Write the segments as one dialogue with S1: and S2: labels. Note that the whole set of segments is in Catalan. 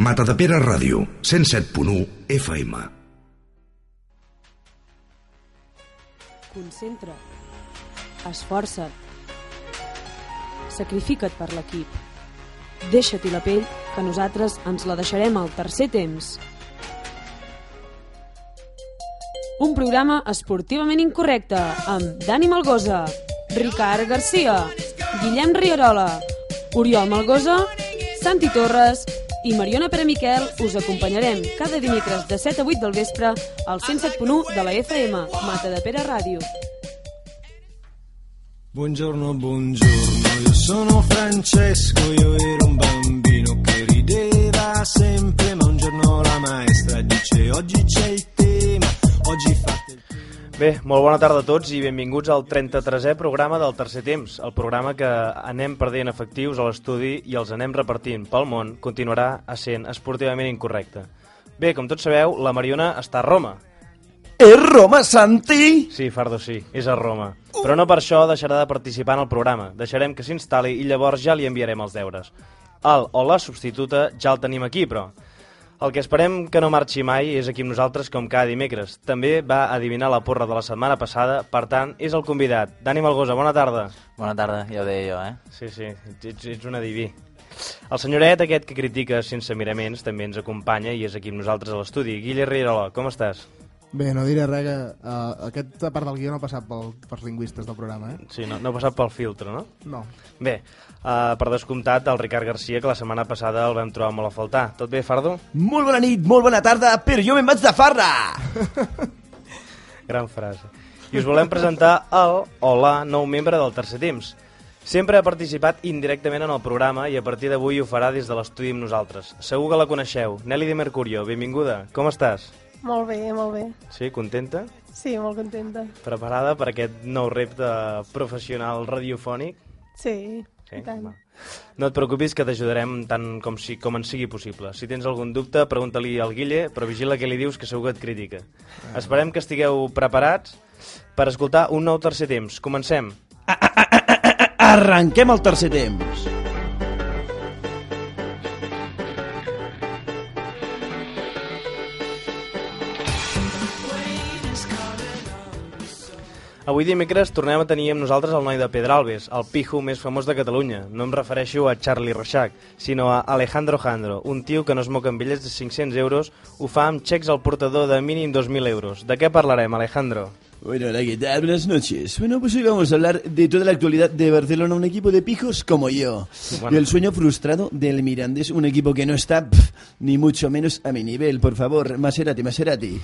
S1: Matadepera Ràdio, 107.1 FM.
S2: Concentra. Esforça't. Sacrifica't per l'equip. Deixa-t'hi la pell, que nosaltres ens la deixarem al tercer temps. Un programa esportivament incorrecte amb Dani Malgosa, Ricard Garcia, Guillem Rierola, Oriol Malgosa, Santi Torres i Mariona Peremiquel us acompanyarem cada dimecres de 7 a 8 del vespre al 107.1 de la FM, Mata de Pere Ràdio.
S3: Buongiorno, buongiorno, io sono Francesco, io ero un bambino che rideva sempre, ma un giorno la maestra dice oggi c'è il tema, oggi fate il...
S4: Bé, molt bona tarda a tots i benvinguts al 33è programa del Tercer Temps, el programa que anem perdent efectius a l'estudi i els anem repartint pel món continuarà sent esportivament incorrecte. Bé, com tots sabeu, la Mariona està a Roma.
S5: És E Roma, Santi?
S4: Sí, Fardo, sí, és a Roma. Però no per això deixarà de participar en el programa. Deixarem que s'instal·li i llavors ja li enviarem els deures. El o la substituta ja el tenim aquí, però. El que esperem que no marxi mai és aquí amb nosaltres com cada dimecres. També va adivinar la porra de la setmana passada, per tant, és el convidat. Dani Malgosa, bona tarda.
S6: Bona tarda, ja ho deia jo, eh?
S4: Sí, sí, ets, ets un adiví. El senyoret aquest que critica sense miraments també ens acompanya i és aquí amb nosaltres a l'estudi. Guille Rierola, com estàs?
S7: Bé, no diré res, que uh, aquesta part del guió no ha passat pel, pels lingüistes del programa, eh?
S4: Sí, no, no ha passat pel filtre, no?
S7: No.
S4: Bé, uh, per descomptat, el Ricard Garcia que la setmana passada el vam trobar molt a faltar. Tot bé, Fardo?
S5: Molt bona nit, molt bona tarda, però jo me'n vaig de farra!
S4: Gran frase. I us volem presentar el o la nou membre del Tercer Temps. Sempre ha participat indirectament en el programa i a partir d'avui ho farà des de l'estudi amb nosaltres. Segur que la coneixeu. Nelly de Mercurio, benvinguda. Com estàs?
S8: Molt bé, molt bé.
S4: Sí, contenta?
S8: Sí, molt contenta.
S4: Preparada per aquest nou repte professional radiofònic?
S8: Sí,
S4: Sí,
S8: i tant.
S4: va. No et preocupis que t'ajudarem tant com, si, com ens sigui possible. Si tens algun dubte, pregunta-li al Guille, però vigila què li dius, que segur que et critica. Esperem que estigueu preparats per escoltar un nou tercer temps. Comencem.
S5: Arrenquem el tercer temps.
S4: Avui dimecres tornem a tenir amb nosaltres el noi de Pedralbes, el pijo més famós de Catalunya. No em refereixo a Charlie Reixac, sinó a Alejandro Jandro, un tio que no es moca amb bitllets de 500 euros, ho fa amb xecs al portador de mínim 2.000 euros. De què parlarem, Alejandro?
S5: Bueno, hola, ¿qué tal? Buenas noches. Bueno, pues hoy vamos a hablar de toda la actualidad de Barcelona, un equipo de pijos como yo.
S4: Bueno.
S5: Del sueño frustrado del Mirandés, un equipo que no está pf, ni mucho menos a mi nivel, por favor. Maserati, Maserati.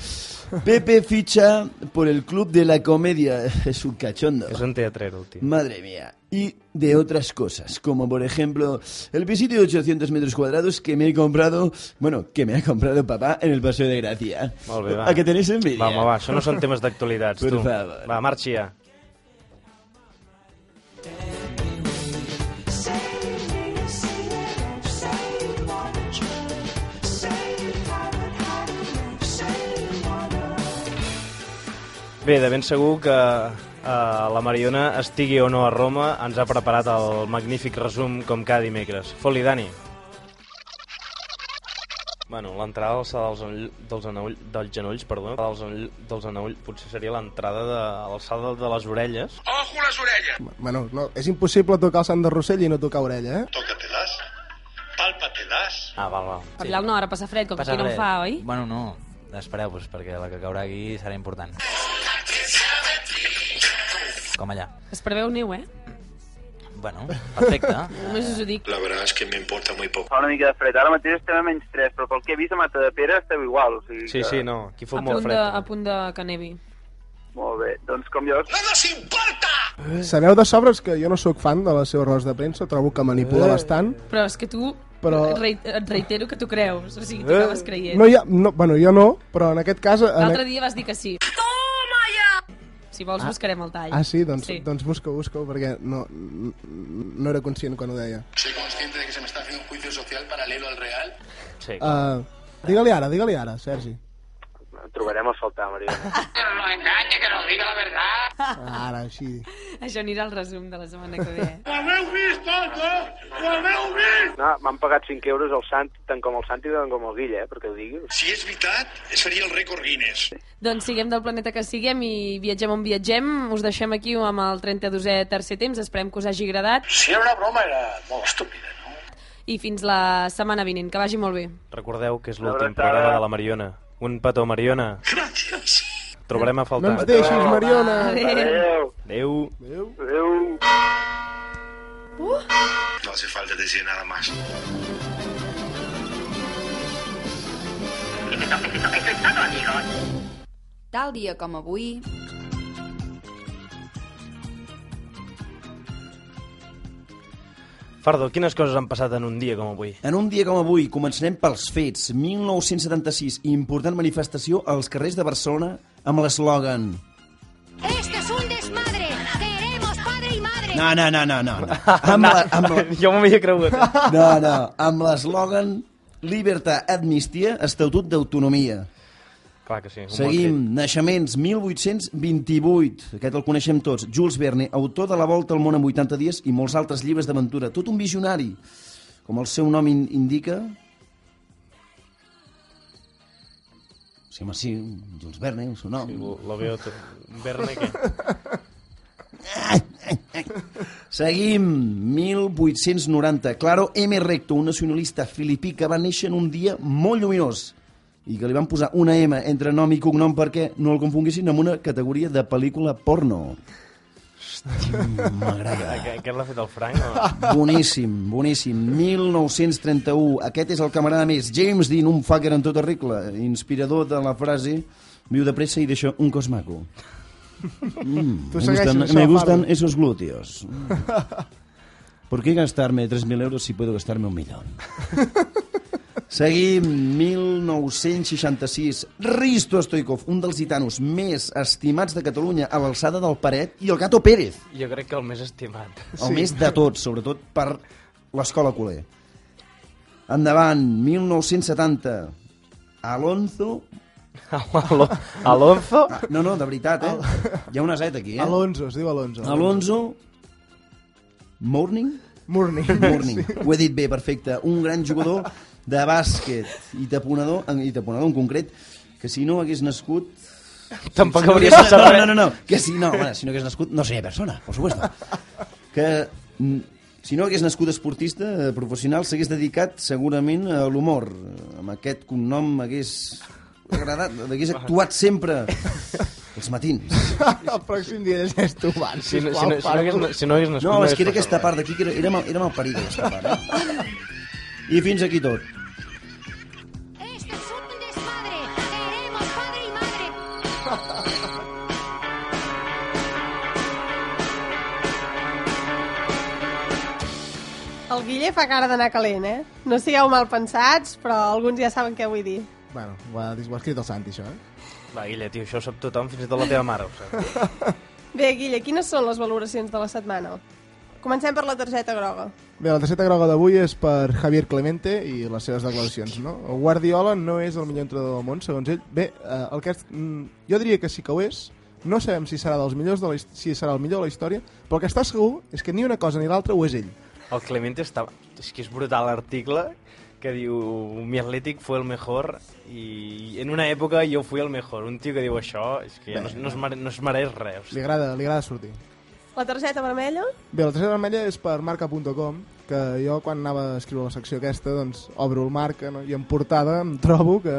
S5: Pepe ficha por el club de la comedia. Es un cachondo.
S4: És un teatrero, el tio.
S5: Madre mía. Y de otras cosas, como por ejemplo el pisito de 800 metros cuadrados que me he comprado, bueno, que me ha comprado papá en el Paseo de Gracia.
S4: Molt bé, va.
S5: ¿A que tenéis envidia?
S4: Va, home, va, això no són temes d'actualitats,
S5: Per
S4: tu.
S5: favor.
S4: Va, marxi ja. Bé, de ben segur que eh, la Mariona, estigui o no a Roma, ens ha preparat el magnífic resum com cada dimecres. Fot-li, Dani. Bueno, l'entrada alça dels, enoll, dels, enoll, dels genolls, perdó, dels, enoll, dels enoll, potser seria l'entrada de a l'alçada de les orelles.
S7: Bueno, no, és impossible tocar el Sant de Rossell i no tocar orella, eh?
S9: Tócatelas, pálpatelas,
S4: Ah, val, val.
S2: Parlar una hora passa fred, com
S6: Passa
S2: aquí no en
S6: res.
S2: fa, oi?
S6: Bueno, no. Espereu, pues, perquè la que caurà aquí serà important. Com allà.
S2: Es preveu neu, eh?
S6: Bueno, perfecte.
S2: Només us ho dic.
S9: La verdad es que me importa muy poco.
S10: fa una mica de fred. Ara mateix estem a menys 3, però pel que he vist a Matadepera esteu igual. O sigui
S4: Sí,
S10: que...
S4: sí, Ah, no, aquí
S2: A
S4: fot molt
S2: punt, de, a
S4: fred.
S2: punt de que nevi.
S10: Molt bé, doncs com jo...
S9: ¡No nos importa!
S2: Eh.
S7: Sabeu de sobres que jo no sóc fan de les seves rodes de premsa, trobo que
S2: Eh.
S7: manipula bastant.
S2: Però és que tu
S7: Però- Eh?
S2: et reit- et reitero que tu creus, o sigui, tu acabes creient.
S7: No hi ha... No, bueno, jo no, però en aquest cas... En... e-
S2: L'altre dia vas dir que sí. Toma ja! Si vols buscarem el tall.
S7: Ah, sí? Doncs,
S2: Sí.
S7: doncs busca, busca perquè no, n- no era conscient quan ho deia.
S9: Soy consciente de que se me está haciendo un juicio social paralelo al real.
S4: Sí.
S7: Uh, digue-li ara, digue-li ara, Sergi.
S10: Em trobarem a faltar, Maria.
S9: No engañe, que lo diga la verdad.
S7: Ara, així.
S2: Això anirà al resum de la setmana que ve. eh?
S9: Ho habeu vist, no? Ho habeu vist?
S10: No, m'han pagat 5 euros el Sant, tant com el Santi, tant com el Guille, eh, perquè ho digui.
S9: Si és veritat, seria el rècord Guinness.
S2: doncs siguem del planeta que siguem i viatgem on viatgem. Us deixem aquí amb el 32è tercer temps. Esperem que us hagi agradat
S9: Si era una broma, era molt estúpida, no?
S2: i fins la setmana vinent. Que vagi molt bé.
S4: Recordeu que és l'últim programa de la Mariona. Un petó, Mariona.
S9: Gràcies.
S4: Trobarem a
S7: No ens
S4: faltar.
S7: deixis, Mariona.
S10: Adéu.
S4: Adéu.
S10: Adéu.
S9: No hace falta decir nada más.
S11: Tal dia com avui...
S4: Fardo, quines coses han passat en un dia com avui?
S5: En un dia com avui començarem pels fets. 1976, important manifestació als carrers de Barcelona amb l'eslògan...
S11: Este es un desmadre! Queremos padre y madre!
S5: No, no, no, no, no. no. Amb, la, amb, la,
S4: Jo m'ho havia cregut.
S5: no, no, amb l'eslògan Libertat, Amnistia, Estatut d'Autonomia.
S4: Clar que sí. un bon
S5: Seguim, naixements, 1828, aquest el coneixem tots, Jules Verne, autor de La volta al món en 80 dies i molts altres llibres d'aventura, tot un visionari, com el seu nom in indica... Sí, home, sí, Jules Verne, el seu nom.
S4: fet. Lo- Lo veo tot. Verne, què?
S5: Seguim, 1890, Claro M. Recto, un nacionalista filipí que va néixer en un dia molt lluminós i que li van posar una M entre nom i cognom perquè no el confonguessin amb una categoria de pel·lícula porno. Hòstia, m'agrada. Ah.
S4: Aquest aquest Eh, l'ha fet el Frank? O...
S5: Boníssim, boníssim. 1931, aquest és el camarada més, James Dean, un fucker en tota regla, inspirador de la frase viu de pressa i deixa un cos maco. Mm,
S7: Tu
S5: me
S7: segueixes
S5: gustan,
S7: això,
S5: me
S7: Pablo.
S5: gustan esos glúteos. Mm. ¿Por qué gastarme 3.000 euros si puedo gastarme un millón? Seguim, 1966. Risto Stoikov, un dels gitanos més estimats de Catalunya a l'alçada del Paret i el Gato Pérez
S4: Jo crec que el més estimat.
S5: el sí. més de tot, sobretot per l'escola culer. Endavant, 1970. Alonso...
S4: Alo- Alonso?
S5: Ah, no, no, de veritat, eh? Hi ha una Z aquí, eh?
S7: Alonso, es diu Alonso.
S5: Alonso... Morning?
S7: Morning.
S5: Morning. Ho he dit bé, perfecte. Un gran jugador de bàsquet i taponador, i taponador en concret, que si no hagués nascut
S4: Tampoc
S5: Si no
S4: hauria
S5: hagués-
S4: de saber.
S5: No, no, no, no, que si no, bueno, si no hagués nascut, no seria persona, por supuesto. Que mm, si no hagués nascut esportista eh, professional, s'hagués dedicat segurament a l'humor. Eh, Amb aquest cognom hagués agradat, hagués actuat sempre els matins.
S7: El pròxim dia és tu, Van,
S4: Si no, si, no, si, no hagués, na- si no hagués nascut...
S5: No, és que era
S4: hagués
S5: aquesta
S4: passat
S5: part d'aquí, que era, era, mal, era mal parida, aquesta part. Eh? I fins aquí tot.
S11: Este es un desmadre! Queremos padre y madre!
S8: El Guille fa cara d'anar calent, eh? No sigueu mal pensats, però alguns ja saben què vull dir.
S7: Bueno, ho ha, ho ha escrit el Santi, això, eh?
S4: res. Va, Guille, tio, això ho sap tothom, fins i tot la teva mare ho sap.
S8: Bé, Guille, quines són les valoracions de la setmana? Comencem per la targeta groga.
S7: Bé, la tercera groga d'avui és per Javier Clemente i les seves declaracions, no? El Guardiola no és el millor entrenador del món, segons ell. Bé, eh, el que és, mm, jo diria que sí que ho és. No sabem si serà dels millors de la, his- si serà el millor de la història, però el que està segur és que ni una cosa ni l'altra ho és ell.
S4: El Clemente està... És que és brutal l'article que diu mi Atlètic fue el mejor i en una època jo fui el mejor. Un tio que diu això és que ja no, es- no, es, mere, no es mereix res.
S7: Li agrada, li agrada sortir.
S8: La targeta vermella?
S7: Bé, la tercera vermella és per marca.com, que jo quan anava a escriure la secció aquesta, doncs obro el marca no? i en portada em trobo que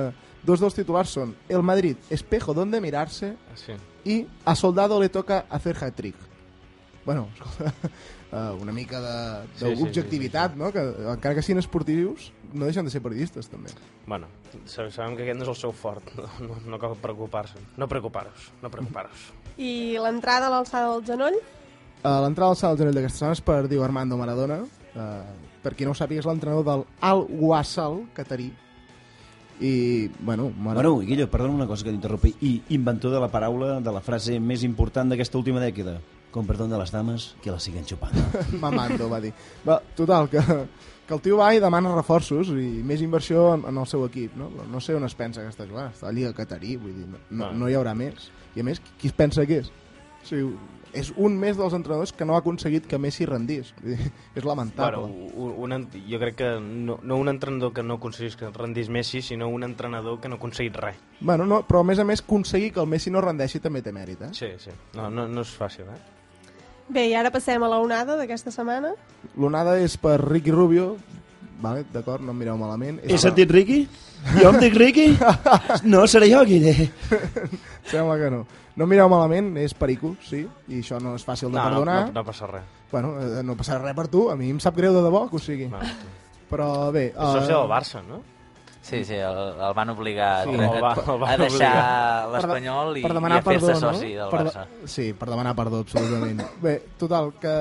S7: dos dels titulars són El Madrid, espejo donde mirarse
S4: Sí.
S7: i A Soldado le toca hacer hat-trick. Bueno, escolta, eh, una mica
S4: Sí, sí,
S7: d'objectivitat, sí, sí, sí, sí. no? Que encara que siguin esportius, no deixen de ser periodistes, també.
S4: Bueno, sa- sabem que aquest no és el seu fort. No, no, no cal preocupar-se. No preocupar-vos, no preocupar-vos.
S8: I l'entrada a l'alçada del genoll?
S7: A Eh, l'entrada al salt del genoll d'aquesta setmana és per Diego Armando Maradona, eh, per qui no ho sàpiga és l'entrenador del Al Wassal, catarí, I, bueno, m'agrada.
S5: Bueno, Guillo, perdona una cosa que t'interrompi. I inventor de la paraula, de la frase més important d'aquesta última dècada. Con perdón de les dames, que la siguen xupant.
S7: Mamando, va dir. Va, total, que, que el tio va i demana reforços i més inversió en, en el seu equip. No? no sé on es pensa que està jugant. Està a Lliga Catarí, vull dir, no, no, no hi haurà més. I a més, qui- qui es pensa que és? O sigui, és un més dels entrenadors que no ha aconseguit que Messi rendís. Vull dir, és lamentable.
S4: Bueno, un, un, ent- jo crec que no, no un entrenador que no aconseguís que rendís Messi, sinó un entrenador que no ha aconseguit res.
S7: Bueno, no, però a més a més aconseguir que el Messi no rendeixi també té mèrit, eh?
S4: Sí, sí. No, no, no és fàcil, eh?
S8: Bé, i ara passem a la onada d'aquesta setmana.
S7: L'onada és per Ricky Rubio, vale, d'acord, no em mireu malament.
S5: He sentit Ricky? Jo em dic Ricky? No, seré jo, Guille.
S7: Sembla que no. No em mireu malament, és perico, sí, i això no és fàcil de
S4: No, no,
S7: perdonar.
S4: no, no passa res.
S7: Bueno, eh, no passarà res per tu, a mi em sap greu de debò que ho sigui. Però bé... eh,
S4: És soci del Barça, no?
S6: Sí, sí, el, el van obligar
S7: Sí,
S6: a-
S7: el va-
S6: a,
S7: el
S6: a
S7: van
S6: deixar
S7: obligar.
S6: l'Espanyol i,
S7: Per
S6: i
S7: demanar
S6: a fer-se
S7: perdó, no?
S6: soci del
S7: Per de-
S6: Barça.
S7: Sí, per demanar perdó, absolutament. bé, total, que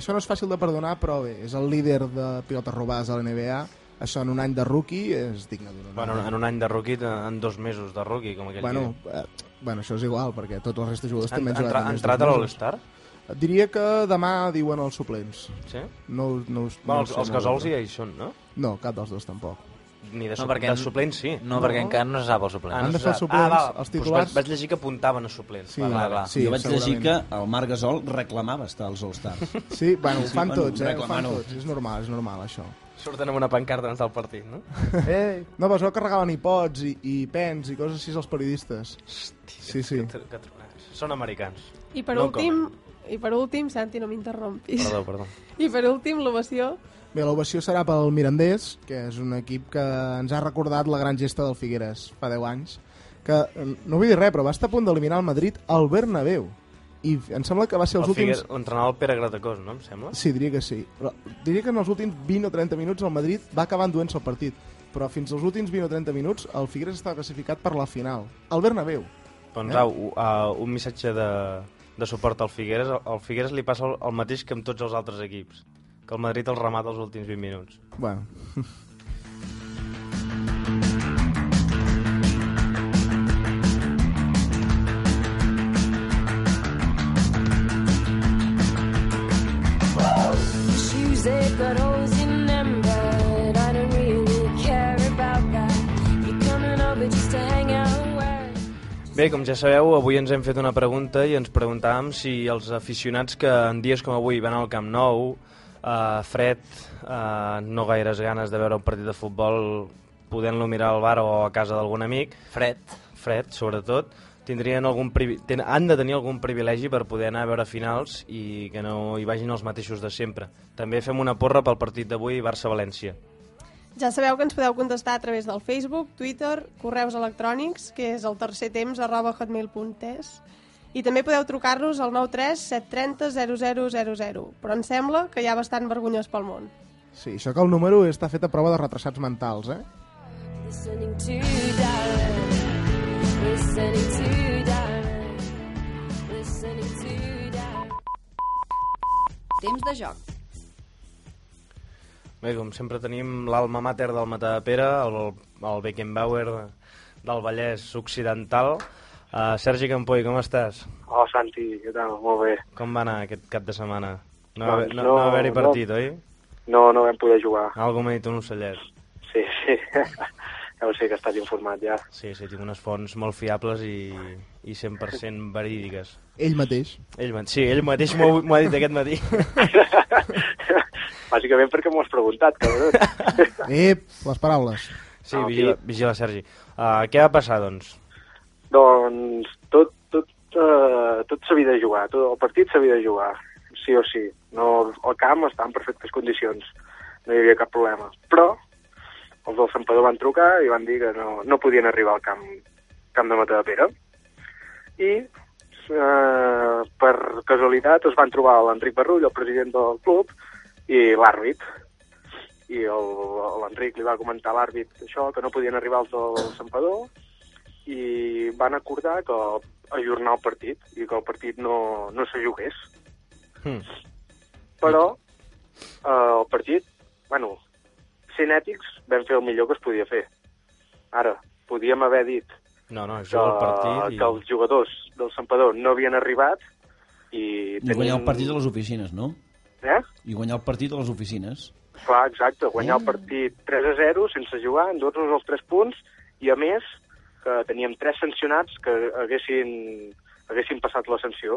S7: això no és fàcil de perdonar, però bé, és el líder de pilotes robades a la NBA. Això en un any de rookie és digne d'un honor.
S4: Bueno, en un any de rookie, en dos mesos de rookie, com aquell
S7: Bueno,
S4: que...
S7: eh, bueno, això és igual, perquè tots els restes jugadors
S4: Han-
S7: també han
S4: han
S7: jugat...
S4: tra-
S7: a més
S4: han entrat
S7: dos
S4: a
S7: mesos.
S4: l'All-Star?
S7: Diria que demà diuen els suplents.
S4: Sí?
S7: No, us- no, us- no
S4: Bueno, els,
S7: us
S4: els
S7: sé, no us
S4: Gasols
S7: recordo.
S4: ja hi són, no?
S7: No, cap dels dos tampoc.
S4: Ni de,
S6: No,
S4: no,
S6: perquè
S4: de
S6: en-
S4: suplents, sí.
S6: no, perquè No. encara no se sap els suplents.
S4: Ah,
S6: Han
S4: no
S6: de
S4: se
S6: fer
S4: sap.
S6: suplents,
S4: ah, va,
S6: els
S4: doncs
S6: titulars.
S4: vaig, vaig llegir que apuntaven a suplents. va, va, va.
S5: jo vaig llegir que el Marc Gasol reclamava estar als All-Stars.
S7: Sí, bueno, ho fan tots, eh? Ho fan
S5: reclamant-ho.
S7: tots. És normal, és normal, això.
S4: Surten amb una pancarta abans del partit, no?
S7: Eh, no, però es veu que regalen ipots i, i pens i coses així als periodistes. Sí, sí.
S4: Que, que tronats. Són americans.
S8: I per,
S4: No
S8: últim, i per últim, Santi, no m'interrompis.
S4: Perdó, perdó.
S8: I per últim, l'ovació.
S7: Bé, l'ovació serà pel Mirandés, que és un equip que ens ha recordat la gran gesta del Figueres fa 10 anys, que eh, no vull dir res, però va estar a punt d'eliminar el Madrid al Bernabéu. I em sembla que va ser
S4: El
S7: els últims...
S4: Figueres, l'entrenador Pere Gratacós, no? Em sembla.
S7: Sí, diria que sí. Però diria que en els últims 20 o 30 minuts el Madrid va acabar enduent-se el partit, però fins als últims 20 o 30 minuts el Figueres estava classificat per la final. El Bernabéu.
S4: Doncs
S7: Eh?
S4: au, u- uh, un missatge de, de suport al Figueres. Al- Al Figueres li passa el, el mateix que amb tots els altres equips. Que el Madrid el remata els últims 20 minuts.
S7: Bueno.
S12: Shoes, they've got holes in them, but I don't really care about that. You're coming over just to hang out. where-
S4: Bé, com ja sabeu, avui ens hem fet una pregunta i ens preguntàvem si els aficionats que en dies com avui van al Camp Nou, eh, fred, eh, no gaires ganes de veure un partit de futbol podent-lo mirar al bar o a casa d'algun amic...
S6: Fred.
S4: Fred, sobretot. Tindrien algun privi... ten... Han de tenir algun privilegi per poder anar a veure finals i que no hi vagin els mateixos de sempre. També fem una porra pel partit d'avui Barça-València.
S8: Ja sabeu que ens podeu contestar a través del Facebook, Twitter, correus electrònics, que és el tercer temps arroba hotmail.es i també podeu trucar-nos al 93 730 0000, però em sembla que hi ha bastant vergonyós pel món.
S7: Sí, això que el número està fet a prova de retrasats mentals, eh?
S12: Listening to Darren. Listening to Darren. Listening to Darren.
S13: Temps de joc.
S4: Bé, com sempre tenim l'alma mater del Matapera, el, el Beckenbauer del Vallès Occidental. Uh, Sergi Campoi, com estàs?
S14: Hola, Oh, Santi, què tal? Molt bé.
S4: Com va anar aquest cap de setmana? No, va
S14: Doncs
S4: haver- no, no,
S14: no,
S4: va haver-hi
S14: no.
S4: partit, oi?
S14: No, no vam poder jugar.
S4: Algú m'ha dit un ocellet.
S14: Sí, sí. ja ho sé que estàs informat, ja.
S4: Sí, sí, tinc unes fonts molt fiables i, i 100% verídiques.
S7: Ell mateix.
S4: Ell, ma- sí, ell mateix m'ho m'ho ha dit aquest matí.
S14: Bàsicament perquè m'ho has preguntat, cabrón.
S7: Ep, les paraules.
S4: Sí,
S14: Ah,
S4: vigila, vigila Sergi. Uh, què va passar, doncs?
S14: doncs tot, tot, eh, tot s'havia de jugar, tot, el partit s'havia de jugar, sí o sí. No, el camp està en perfectes condicions, no hi havia cap problema. Però els del Sampador van trucar i van dir que no, no podien arribar al camp, camp de Matadepera. I eh, per casualitat es van trobar l'Enric Barrull, el president del club, i l'àrbit. I el- l'Enric li va comentar a l'àrbit això, que no podien arribar els del Sampador, i van acordar que ajornar el partit i que el partit no, no se jugués.
S4: Hmm.
S14: Però eh, el partit, bueno, sent ètics, vam fer el millor que es podia fer. Ara, podíem haver dit
S4: No, no, es
S14: que,
S4: juga el partit i...
S14: que els jugadors del Sampador no havien arribat i...
S5: I guanyar el partit a les oficines, no?
S14: Eh?
S5: I guanyar el partit a les oficines.
S14: Clar, exacte, guanyar el partit 3 a 0 sense jugar, endur-nos els 3 punts i a més que teníem 3 sancionats que haguessin, haguessin passat la sanció.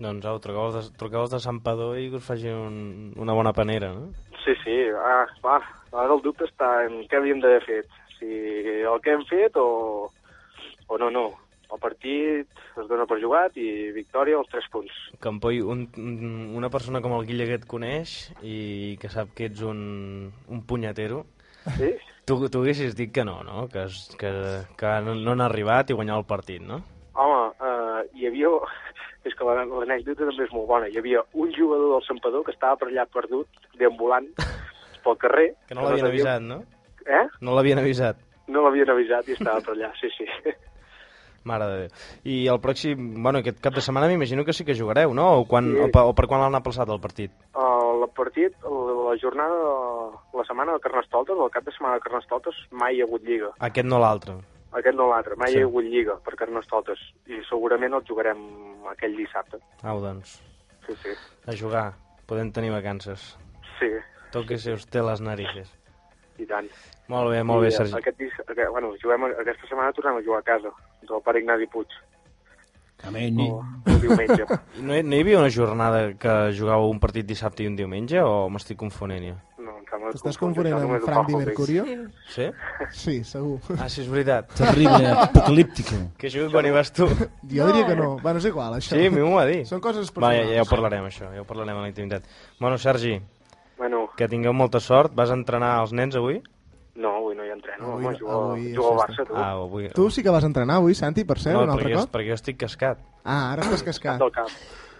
S4: Doncs au, truqueu-los de, truqueu de Sant Padó i que us facin un, una bona panera, no?
S14: Sí, sí, ah, va, ara el dubte està en què havíem d'haver fet, si el que hem fet o, o no, no. El partit es dona per jugat i victòria als 3 punts.
S4: Campoi, un, un- una persona com el Guille que et coneix i que sap que ets un, un punyetero,
S14: Sí?
S4: tu, tu haguessis dit que no, no? Que, es- que, que no, no han arribat i guanyar el partit, no?
S14: Home, eh, hi havia... És que l'ane- l'anècdota també és molt bona. Hi havia un jugador del Sampador que estava per allà perdut, deambulant, pel carrer.
S4: Que no l'havien
S14: sabia-
S4: avisat, no?
S14: Eh?
S4: No l'havien avisat.
S14: No l'havien avisat i estava per allà, sí, sí.
S4: Mare de Déu. I el pròxim, bueno, aquest cap de setmana m'imagino que sí que jugareu, no? O, quan,
S14: Sí.
S4: o, pa, o per quan l'han aplaçat el partit?
S14: El partit, la jornada, la setmana de Carnestoltes, el cap de setmana de Carnestoltes, mai hi ha hagut lliga.
S4: Aquest no l'altre.
S14: Aquest no l'altre, mai
S4: Sí.
S14: hi ha hagut lliga per Carnestoltes. I segurament el jugarem aquell dissabte.
S4: Au, doncs,
S14: Sí, sí.
S4: a jugar. Podem tenir vacances.
S14: Sí,
S4: Tóquese usted las narices.
S14: i tant.
S4: Molt bé, molt bé,
S14: I, eh,
S4: Sergi.
S14: Aquest, dis- aquest, bueno, juguem, aquesta setmana tornem a jugar a casa, del pare Ignasi Puig.
S5: Home, ni...
S14: el diumenge.
S4: I No, hi- no hi havia una jornada que jugava un partit dissabte i un diumenge o m'estic confonent jo?
S14: No, em sembla
S7: Estàs confonent amb Frank Di Mercurio?
S4: Sí?
S7: Sí, segur.
S4: Ah, sí, és veritat.
S7: Terrible, apocalíptico.
S4: Que això quan hi vas tu.
S7: Jo diria que no. Bueno, és igual, això.
S4: Sí, a mi m'ho va dir.
S7: Són
S4: Va,
S7: coses
S4: ja,
S7: personals.
S4: ja ho parlarem, això, ja ho parlarem a la intimitat. Bueno, Sergi,
S14: Bueno,
S4: que tingueu molta sort. Vas entrenar els nens avui?
S14: no, avui no hi entreno, avui, home, jugo,
S7: avui
S14: jugo al
S7: és
S14: Barça, tu.
S4: Ah, avui...
S7: Tu sí que vas entrenar avui, Santi, per cert,
S4: no,
S7: un altre
S4: perquè, jo-
S7: cop?
S4: perquè jo estic cascat.
S7: Ah, ara estàs cascat.
S14: Del cap.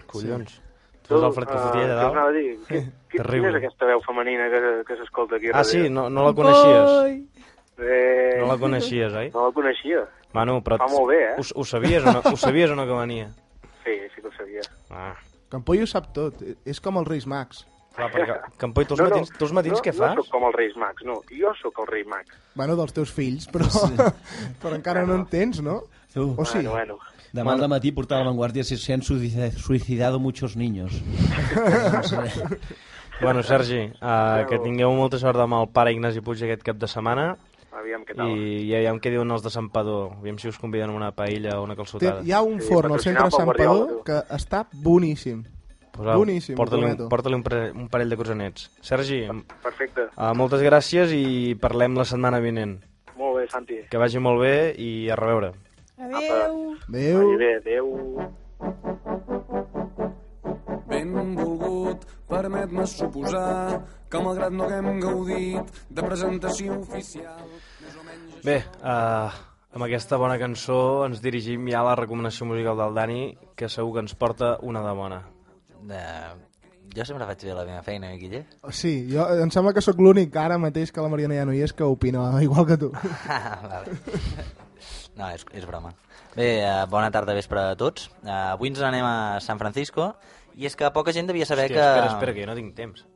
S4: Collons. Tu ets el Fred Cafetí allà
S14: eh, Què us
S4: dalt?
S14: anava a dir? Qui, qui, quina és
S4: Terrible.
S14: aquesta veu femenina que, que s'escolta aquí
S4: Ah,
S14: darrere?
S4: sí, no, no la coneixies.
S14: Eh...
S4: No la coneixies, oi?
S14: No la coneixia.
S4: Manu, però...
S14: Fa molt bé, eh?
S4: Ho, ho sabies o no, ho sabies o no que venia?
S14: Sí, sí que ho sabia.
S4: Ah.
S7: Campollo ho sap tot. És com els Reis Mags.
S4: Clar, perquè, Campoi, tu els matins, tu els matins
S14: no,
S4: què fas?
S14: No sóc com els Reis Mags, no. Jo sóc el Rei Mag.
S7: Bueno, dels teus fills, però, però encara no en tens, no?
S5: Tu.
S7: O sí?
S14: Bueno,
S5: Demà al matí portar a la Vanguardia si se han suicida- suicidado muchos niños.
S4: Bueno, Sergi, uh, que tingueu molta sort amb el pare Ignasi Puig aquest cap de setmana.
S14: Aviam què tal.
S4: I, I aviam què diuen els de Sant Padó. Aviam si us conviden a una paella o una
S7: Té,
S4: calçotada.
S7: hi ha un forn al centre de Sant Padó que està boníssim.
S4: Posau,
S7: boníssim, ho
S4: porta-li un,
S7: prometo.
S4: porta un, pare- un parell de cosanets. Sergi,
S14: Perfecte.
S4: uh, moltes gràcies i parlem la setmana vinent.
S14: Molt bé, Santi.
S4: Que vagi molt bé i a reveure.
S8: Adéu.
S7: Adéu.
S14: Vagi bé, adéu.
S15: Benvolgut, permet-me suposar que malgrat no haguem gaudit de presentació oficial...
S4: Bé, uh, amb aquesta bona cançó ens dirigim ja a la recomanació musical del Dani, que segur que ens porta una de bona.
S6: De... Eh, Jo sempre faig bé la meva feina, eh, Guille?
S7: Sí, jo, em sembla que sóc l'únic ara mateix que la Mariana ja no hi és que opina igual que tu.
S6: vale. No, és, és broma. Bé, eh, bona tarda, vespre a tots. Eh, avui ens n'anem a San Francisco i és que poca gent devia saber
S4: Hòstia,
S6: que...
S4: espera, espera, que jo no tinc temps.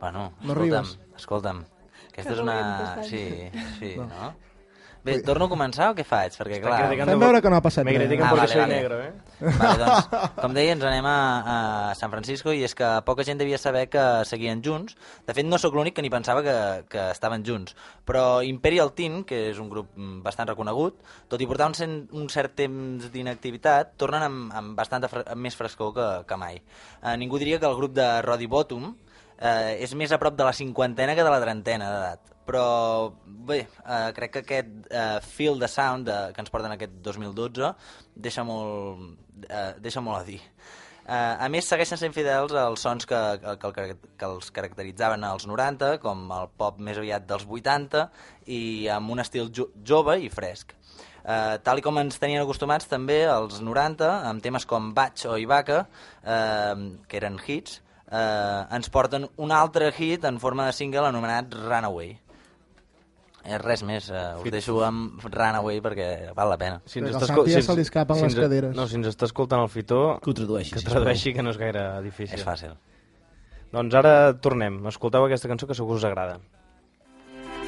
S6: Bueno,
S4: No
S6: escolta'm,
S4: arribes.
S6: escolta'm. Aquesta
S4: Que
S6: és una...
S4: dolent,
S6: Sí,
S4: Costanyo.
S6: sí,
S4: No.
S6: no? Bé, torno a començar o què faig? Perquè,
S4: Està
S6: clar... Ah,
S4: criticant Fem de- veure que no ha passat me res. critiquen perquè soy
S6: vale.
S4: negro, eh?
S6: Vale, doncs, com deia, ens anem a, a San Francisco i és que poca gent devia saber que seguien junts. De fet, no sóc l'únic que ni pensava que, que estaven junts. Però Imperial Teen, que és un grup mm, bastant reconegut, tot i portar un, cent, un cert temps d'inactivitat, tornen amb, amb bastanta fre amb més frescor que, que mai. Eh, ningú diria que el grup de Roddy Bottom eh, és més a prop de la cinquantena que de la trentena d'edat. Però bé, eh, crec que aquest eh, feel de sound de, que ens porten aquest 2012 deixa molt, eh, deixa molt a dir. Eh, a més, segueixen sent fidels als sons que, que, el carac- que els caracteritzaven als 90, com el pop més aviat dels 80, i amb un estil jo jove i fresc. Eh, tal i com ens tenien acostumats també als 90, amb temes com Batch o Ibaka, eh, que eren hits, eh, ens porten un altre hit en forma de single anomenat Runaway. Eh, res més, eh, us deixo amb Runaway perquè val la pena.
S4: Si
S7: Però al Santi ja se li escapen les
S4: ens-
S7: caderes.
S4: No, si ens està escoltant el Fitó...
S5: Que ho tradueixi,
S4: Que
S5: sisplau.
S4: tradueixi, que no és gaire difícil.
S6: És fàcil.
S4: Doncs ara tornem. Escolteu aquesta cançó que segur us agrada.
S11: Runaway,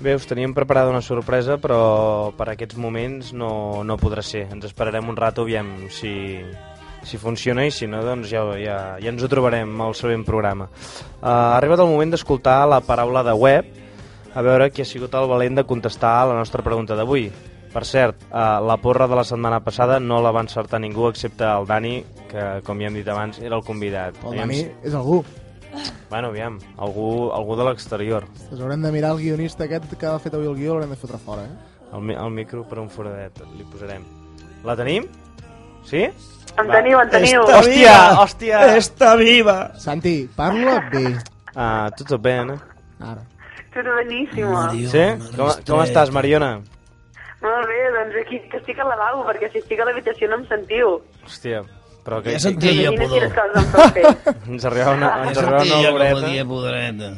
S4: Bé, us teníem preparada una sorpresa, però per aquests moments no, no podrà ser. Ens esperarem un rato, aviam si, si funciona i si no, doncs ja, ja, ja ens ho trobarem al següent programa. Uh, ha arribat el moment d'escoltar la paraula de web, a veure qui ha sigut el valent de contestar a la nostra pregunta d'avui. Per cert, uh, la porra de la setmana passada no la va encertar ningú, excepte el Dani, que, com ja hem dit abans, era el convidat.
S7: El
S4: Aviam
S7: Dani
S4: si-
S7: és algú.
S4: Bueno, aviam, algú, algú de l'exterior.
S7: Ens haurem de mirar el guionista aquest que ha fet avui el guió, l'haurem de fotre fora, eh?
S4: El, mi- el micro per un foradet, li posarem. La tenim? Sí?
S16: En teniu, en teniu.
S4: Està hòstia,
S7: viva!
S4: hòstia!
S7: Està viva! Santi, parla bé.
S4: Ah, tutto bene.
S7: Ara.
S16: Todo beníssimo.
S4: Sí? Com, com estàs, Mariona?
S16: Molt bé, doncs aquí que estic al lavabo, perquè si estic a l'habitació no em sentiu.
S4: Hòstia, però que...
S17: Ja sentia
S16: Imagina
S17: pudor.
S16: quines coses em pot fer.
S4: Ens arribava una,
S17: Ja
S4: ens arribava
S17: sentia
S4: una
S17: com la
S4: oloreta.
S17: tia pudoreta.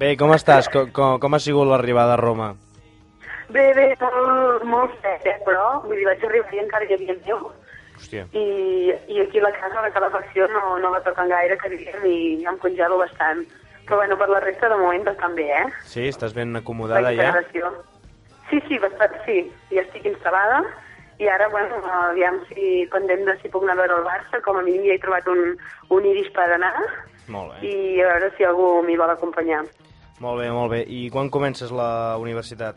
S4: Bé, com estàs? Com, com, com ha sigut l'arribada a Roma?
S16: Bé, bé, molt, molt fred, eh, però vull dir, vaig arribar i encara hi havia neu.
S4: Hòstia.
S16: I, I aquí la casa, la calefacció, no, no la toquen gaire, que diguem, i em congelo bastant. Però bueno, per la resta, de moment, bastant bé, eh?
S4: Sí, estàs ben acomodada
S16: La
S4: ja?
S16: integració. Sí, sí, bastant, sí. Ja estic instal·lada i ara, bueno, aviam si pendent de si puc anar a veure el Barça, com a mínim ja he trobat un, un iris per anar
S4: Molt bé.
S16: i a veure si algú m'hi vol acompanyar.
S4: Molt bé, molt bé. I quan comences la universitat?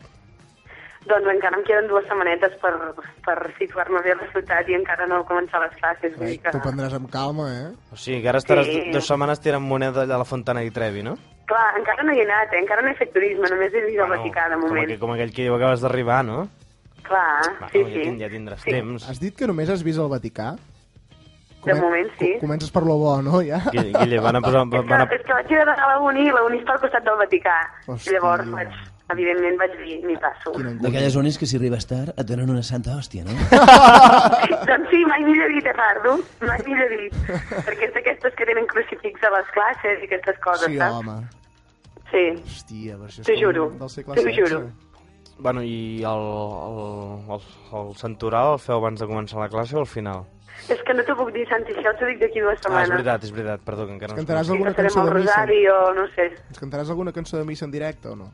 S16: Doncs encara em queden dues setmanetes per, per situar-me bé a la ciutat i encara no començar les classes. Vull dir que...
S7: T'ho prendràs amb calma, eh?
S4: O sigui, que ara estaràs
S16: Sí.
S4: dues setmanes tirant moneda allà a la Fontana di Trevi, no?
S16: Clar, encara no hi he anat, eh? encara no he fet turisme, només he vist el Vaticà de
S4: Com,
S16: moment.
S4: aquell, com aquell que diu acabes d'arribar, no?
S16: Clar, sí,
S4: ja,
S16: sí.
S4: tind- ja tindràs temps.
S7: Has dit que només has vist el Vaticà?
S16: De moment, sí.
S7: co- Comences per lo bo, no, ja?
S4: Guille, Guille, van a posar... Van a...
S16: És que vaig haver d'anar a la uni i la uni està al costat del Vaticà.
S7: Hòstia.
S16: Llavors, vaig, evidentment, vaig dir, m'hi passo.
S17: D'aquelles zones que si arribes tard et donen una santa hòstia, no?
S16: doncs sí, mai millor dit, Efardo, mai millor dit. Perquè és d'aquestes que tenen crucifix a les classes i aquestes coses,
S7: Sí,
S16: saps?
S7: home.
S16: Sí,
S7: Hòstia, però això és
S16: t'ho
S7: com
S16: juro,
S7: Del segle
S16: t'ho juro.
S4: Bueno, i el, el, el, el centural el feu abans de començar la classe o al final?
S16: És que no t'ho puc dir, Santi, això t'ho dic d'aquí dues
S4: Ah, és
S16: setmanes.
S4: veritat, és veritat, perdó, que encara no...
S7: Cantaràs alguna
S16: Farem
S7: cançó
S16: el
S7: de missa?
S16: rosari o no sé.
S7: Ens cantaràs alguna cançó de missa en directe o no?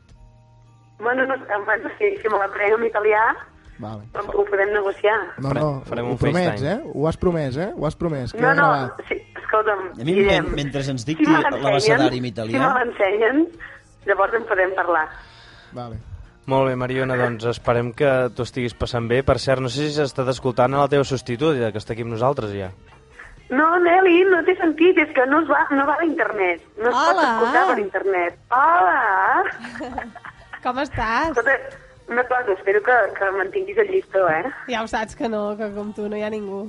S16: Bueno, no, eh, bueno si, si me l'aprenc en italià,
S7: Vale.
S16: ho ho podem negociar.
S7: No, no,
S4: farem
S7: ho
S4: un
S7: promets,
S4: FaceTime.
S7: eh? Ho has promès, eh? Ho has promès,
S16: no,
S7: queda
S16: no,
S7: gravat.
S16: sí, escolta'm,
S17: A mi,
S16: Guillem,
S17: men- mentre ens
S16: si
S17: dicti
S16: me
S17: l'abecedari en
S16: l'ensenyen, si
S17: italià...
S16: me l'ensenyen, llavors en podem parlar.
S7: Vale.
S4: Molt bé, Mariona, doncs esperem que tu estiguis passant bé. Per cert, no sé si s'ha estat escoltant la teva substituta, que està aquí amb nosaltres ja.
S16: No, Nelly, no t'he sentit, és que no, es va, no va a internet. No es pot
S8: Hola.
S16: escoltar per internet. Hola!
S8: Com estàs?
S16: Escolta, una cosa, espero que, que mantinguis el llistó, eh?
S8: Ja ho saps que no, que com tu no hi ha ningú.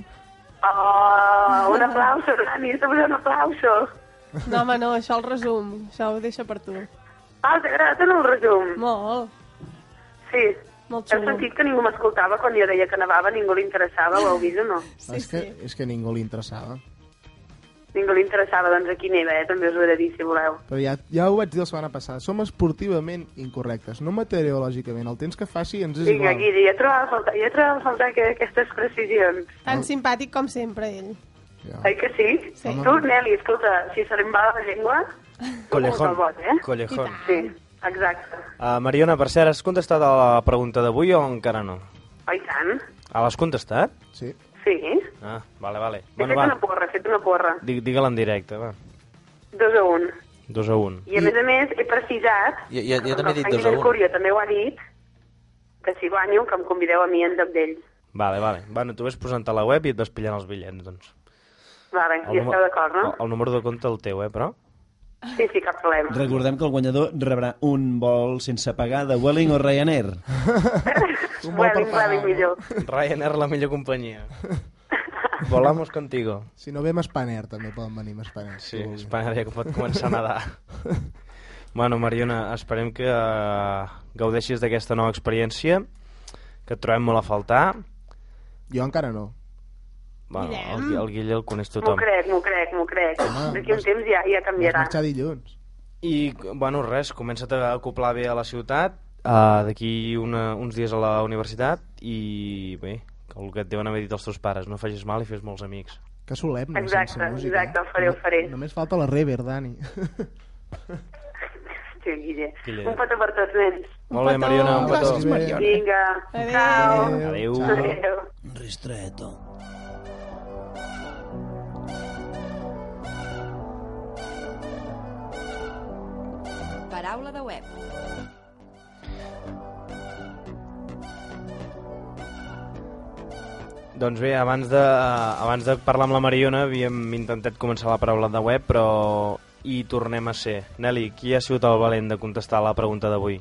S16: Oh, un aplauso, Dani, està posant un aplauso.
S8: No, home, no, això el resum. Això ho deixa per tu.
S16: Ah, t'agrada tant el resum?
S8: Molt.
S16: Sí.
S8: Molt
S16: Heu
S8: xulo.
S16: sentit que ningú m'escoltava quan jo deia que nevava, ningú li interessava, ho heu vist o no?
S7: Sí, és, que, és que ningú li interessava.
S16: Ningú li interessava, doncs aquí neva, eh? També us ho he de dir, si voleu.
S7: Però ja, ja ho vaig dir la setmana passada, som esportivament incorrectes, no meteorològicament. El temps que faci ens és
S16: Vinga,
S7: igual.
S16: Guiri, ja trobava a faltar, ja trobava a faltar que, aquestes precisions.
S8: Tan simpàtic com sempre, ell.
S16: Oi que sí? sí. Tu, Nelly, escolta, si se li va la llengua...
S4: Collejón.
S16: no Vot, Ah? eh?
S4: Collejón.
S16: Sí, exacte.
S4: Uh, Mariona, per cert, has contestat a la pregunta d'avui o encara no?
S16: Oi tant?
S4: Ah, l'has contestat?
S7: Sí.
S16: Sí.
S4: Ah, vale, vale.
S16: He fet una porra, he fet una porra.
S4: Digue- Digue-la en directe, va.
S16: Dos a un.
S4: Dos a un.
S16: I a més a més he precisat...
S6: Jo- jo- jo també he dit
S16: el Santi
S6: dos a un.
S16: Mercurio també ho ha dit, que si guanyo que em convideu a mi en lloc d'ell.
S4: Vale, vale. Bueno, tu vés posant a la web i et vas pillant els bitllets, doncs.
S16: Vale,
S4: El
S16: ja
S4: número-
S16: esteu d'acord, no?
S4: El, el número de compte el teu, eh, però?
S16: Sí, sí, cap problema.
S17: Recordem que el guanyador rebrà un vol sense pagar de Welling o Ryanair.
S16: Un bon Welling, Welling, millor.
S4: Ryanair, la millor companyia. Volamos contigo.
S7: Si no ve amb Spanair, també poden venir amb Spanair.
S4: Sí, Espanya ja que pot començar a nedar. bueno, Mariona, esperem que eh, gaudeixis d'aquesta nova experiència, que et trobem molt a faltar.
S7: Jo encara no.
S4: Bueno, el,
S16: Guillem.
S4: Gui- el Guille el coneix
S16: M'ho
S4: tothom. doncs
S16: crec, m'ho crec, m'ho crec. D'aquí un temps ja, ja canviarà.
S7: dilluns.
S4: I, bueno, res, comença't a acoplar bé a la ciutat, uh, d'aquí una- uns dies a la universitat, i bé, que el que et deuen haver dit els teus pares, no facis mal i fes molts amics.
S7: Que solemne,
S16: Exacte,
S7: sense música. eh?
S16: exacte, ho faré, ho faré.
S7: Només falta la rever, Dani.
S16: tio Guille.
S4: Guille.
S16: Un petó per tots, nens.
S4: Molt bé, Mariona, un petó.
S16: Gràcies, Mariona. Vinga, ciao.
S4: Adéu.
S16: Adéu.
S5: Ristretto.
S13: Paraula de web.
S4: Doncs bé, abans de, eh, abans de parlar amb la Mariona havíem intentat començar la paraula de web, però hi tornem a ser. Nelly, qui ha sigut el valent de contestar la pregunta d'avui?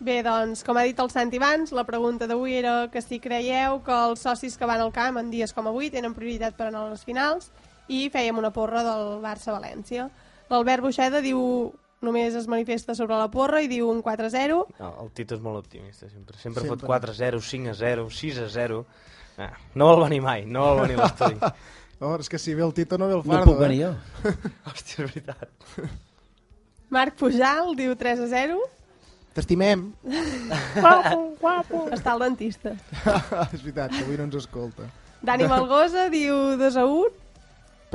S8: Bé, doncs, com ha dit el Santi abans, la pregunta d'avui era que si creieu que els socis que van al camp en dies com avui tenen prioritat per anar a les finals i fèiem una porra del Barça-València. L'Albert Buixeda diu només es manifesta sobre la porra i diu un 4-0.
S4: No, el Tito és molt optimista, sempre. Sempre, fot
S8: Sempre.
S4: 4-0, 5-0, 6-0... Ah, no el va ni mai, no el va ni l'estudi.
S7: No, Oh, és que si ve el Tito no ve el
S4: No
S7: Fardo.
S4: puc venir
S7: eh?
S4: jo. Hòstia, és veritat.
S8: Marc Pujal diu 3-0.
S7: T'estimem.
S8: Guapo, guapo. Està al dentista.
S7: és veritat, que avui no ens escolta.
S8: Dani Malgosa diu 2-1.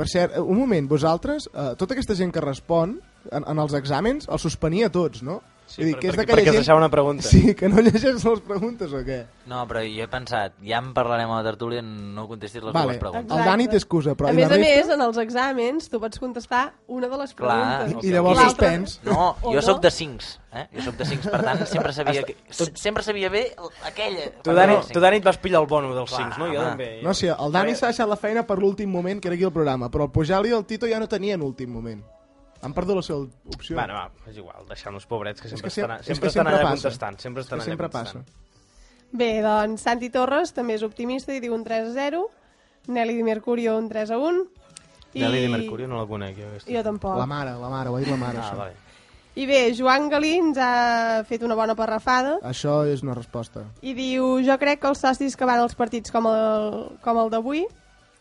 S7: Per cert, eh, un moment, vosaltres, eh, tota aquesta gent que respon en, en els exàmens, els suspenia tots, no?
S4: Sí, per-
S7: és
S4: perquè-
S7: d'aquella
S4: perquè es deixava una pregunta.
S7: Sí, que no llegeix les preguntes o què?
S6: No, però jo he pensat, ja en parlarem a la tertúlia, no contestis les
S7: Vale,
S6: dues preguntes.
S7: el Dani té excusa, però...
S8: a
S7: i
S8: més
S7: la
S8: a
S7: resta...
S8: més, en els exàmens tu pots contestar una de les
S6: Clar.
S8: preguntes.
S6: I- i llavors
S8: l'altra-
S6: suspens. No,
S8: O
S6: jo sóc de 5, eh? Jo sóc de 5, per tant, sempre sabia que... Sempre sabia bé aquella...
S4: Tu, Dani, tu, Dani, et vas pillar el bono dels 5, no? Jo
S6: home.
S4: també.
S7: No, sí, el Dani s'ha deixat la feina per l'últim moment que era aquí el programa, però el Pujal i el Tito ja no tenien últim moment. Han perdut la seva opció.
S4: Bueno, va, és igual, deixant-los pobrets, que sempre,
S7: que sem-
S4: estan, a-
S7: és
S4: sempre,
S7: que
S4: estan
S7: sempre
S4: allà
S7: passa.
S4: contestant. Sempre
S7: És
S4: estan
S7: que
S4: allà
S7: sempre
S4: contestant.
S8: Bé, doncs Santi Torres també és optimista i diu un 3-0. Nelly Di Mercurio un 3-1. I...
S4: Nelly de Mercurio no la conec, jo. aquesta.
S8: Jo tampoc.
S7: La mare, la mare, ho ha dit la mare,
S4: Ah,
S7: això.
S4: vale.
S8: I bé, Joan Galí ens ha fet una bona parrafada
S7: Això és una resposta.
S8: i diu jo crec que els socis que van als partits com el, com el d'avui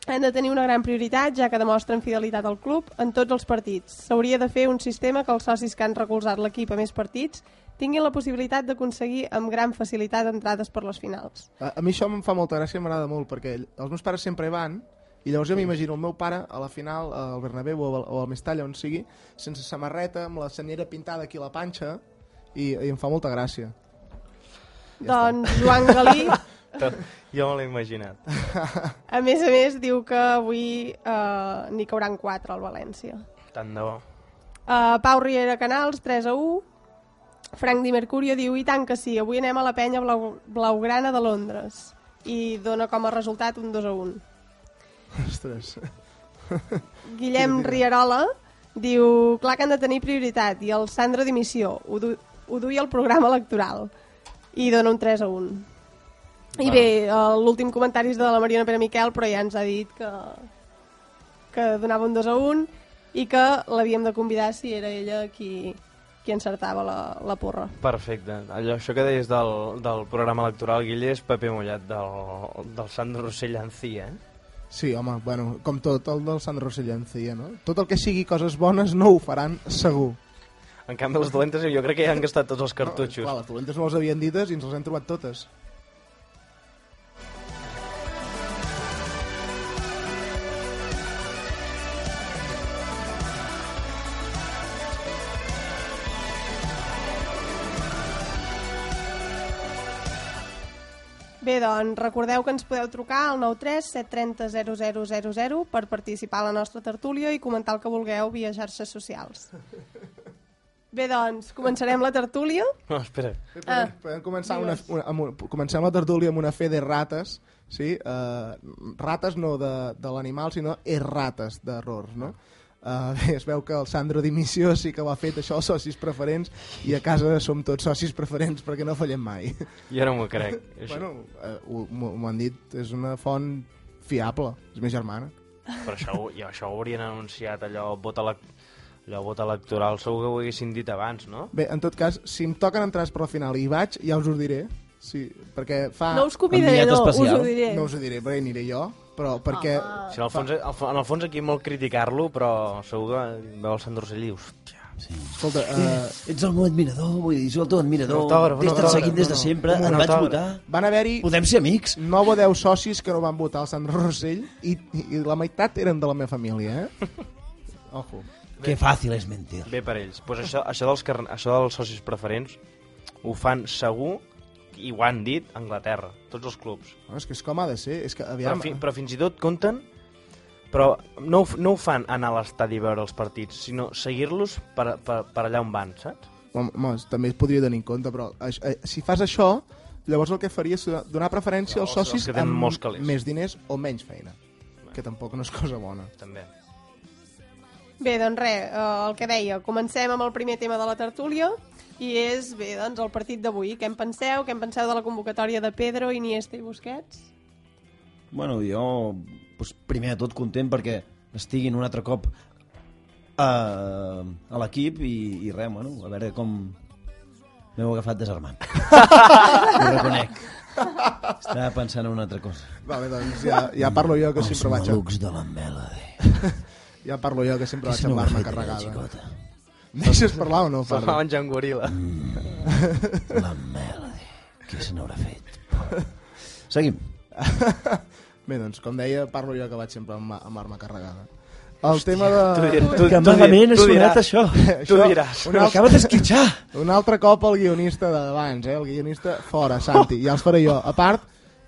S8: han de tenir una gran prioritat, ja que demostren fidelitat al club en tots els partits. S'hauria de fer un sistema que els socis que han recolzat l'equip a més partits tinguin la possibilitat d'aconseguir amb gran facilitat entrades per les finals.
S7: A, a mi això em fa molta gràcia, m'agrada molt, perquè els meus pares sempre hi van, i llavors jo m'imagino el meu pare a la final, eh, al Bernabéu o al, o al Mestalla, on sigui, sense samarreta, amb la senyera pintada aquí a la panxa, i, i em fa molta gràcia.
S8: doncs Joan Galí,
S4: Tot, jo me l'he imaginat.
S8: a més a més, diu que avui eh, n'hi cauran 4 al València.
S4: Tant de bo.
S8: Uh, Pau Riera Canals, 3 a 1. Frank Di Mercurio diu, i tant que sí, avui anem a la penya blau, blaugrana de Londres. I dona com a resultat un 2 a 1.
S7: Ostres.
S8: Guillem Rierola diu, clar que han de tenir prioritat, i el Sandro dimissió, ho, du ho duia al programa electoral. I dona un 3 a 1. I bé, eh, l'últim comentari és de la Mariona Pere Miquel, però ja ens ha dit que, que donava un 2 a 1 i que l'havíem de convidar si era ella qui, qui encertava la, la porra.
S4: Perfecte. Allò, això que deies del, del programa electoral, Guille, és paper mullat del, del Sandro Rossell Ancía, eh?
S7: Sí, home, bueno, com tot el del Sandro Rosellencia, no? Tot el que sigui coses bones no ho faran segur.
S4: En canvi, les dolentes jo crec que ja han gastat tots els cartutxos.
S7: Clar, les dolentes no les havien dites i ens les hem trobat totes.
S8: Bé, doncs, recordeu que ens podeu trucar al 93 730 0000 per participar a la nostra tertúlia i comentar el que vulgueu via xarxes socials. Bé, doncs, començarem la tertúlia.
S4: No, espera.
S8: Ah,
S7: Podem començar una, una, amb una, comencem la tertúlia amb una fe de rates, sí? Uh, rates no de, de l'animal, sinó errates d'errors, no? Uh, bé, es veu que el Sandro Dimissió sí que ho ha fet això als socis preferents i a casa som tots socis preferents perquè no fallem mai.
S4: Jo no m'ho crec. Això.
S7: bueno, uh, m'ho han dit, és una font fiable, és més germana.
S4: Però això, ho- i això ho haurien anunciat, allò, vot, elec... allò, vot electoral, segur que ho haguessin dit abans, no?
S7: Bé, en tot cas, si em toquen entrades per la final i hi vaig, ja us ho diré. Sí, perquè
S5: Ah,
S7: fa...
S8: No us convidaré, Enviat no, especial. us ho diré. Ah.
S7: No us ho diré, perquè hi aniré jo, però perquè...
S4: Si en, el fons, al fo- en el fons aquí molt criticar-lo, però segur que veu el Sandro Rossell i dius...
S7: Escolta,
S4: eh,
S5: Ets el meu admirador, vull dir, jo el teu admirador.
S4: Un autògraf, un
S5: T'he estat
S4: autògraf,
S5: seguint des
S4: no,
S5: de
S4: no.
S5: sempre,
S4: Un
S5: et vaig
S4: autògraf.
S5: votar.
S7: Van haver-hi...
S5: Podem ser amics?
S7: 9 o 10 socis que no van votar el Sandro Rossell i, i la meitat eren de la meva família, eh? Ojo.
S5: Que fàcil és mentir.
S4: Bé per ells. Pues això, això, dels carn... això dels socis preferents ho fan segur i ho han dit a Anglaterra, tots els clubs.
S7: No, és que és com ha de ser. És que,
S4: Però,
S7: aviam,
S5: eh.
S4: fi, però fins i tot compten però no, ho f- no ho fan anar a l'estadi a veure els partits, sinó seguir-los per, per, per allà on van, saps?
S7: home, home, també es podria tenir en compte, però aix- eh, si fas això, llavors el que faria és donar- donar preferència als
S4: als
S7: socis
S4: que tenen molts
S7: amb
S4: calés.
S7: més diners o menys feina, que tampoc no és cosa bona.
S4: També.
S8: Bé, doncs res, eh, el que deia, comencem amb el primer tema de la tertúlia i és, bé, doncs el partit d'avui. Què en penseu? Què en penseu de la convocatòria de Pedro, Iniesta i Busquets?
S5: Bueno, jo, doncs, primer de tot content perquè estiguin un altre cop a, a l'equip i, i res, bueno, a veure com m'heu agafat desarmant. Ho reconec. Estava pensant en una altra cosa.
S7: Va bé, doncs ja, ja parlo jo, que
S5: Els
S7: sempre vaig...
S5: malucs de la Melody.
S7: ja parlo jo, que sempre
S5: Que
S7: vaig
S5: si no
S7: amb l'arma
S5: m'agafés la
S7: carregada.
S5: xicota.
S7: Deixes parlar o no?
S4: Se'l
S7: Parlo.
S4: fa menjar en goril·la.
S5: Mm, La Melody. Què se n'haurà fet? Seguim.
S7: Bé, doncs, com deia, parlo jo que vaig sempre amb, amb arma carregada. El tema de...
S5: tu dir- tu- Que tu dir- malament ha tu sonat diràs. això. Tu diràs.
S7: un
S5: Però
S7: altre-
S5: acaba d'esquitxar.
S7: Un altre cop el guionista d'abans, eh? El guionista fora, Santi. Ja els faré jo. A part,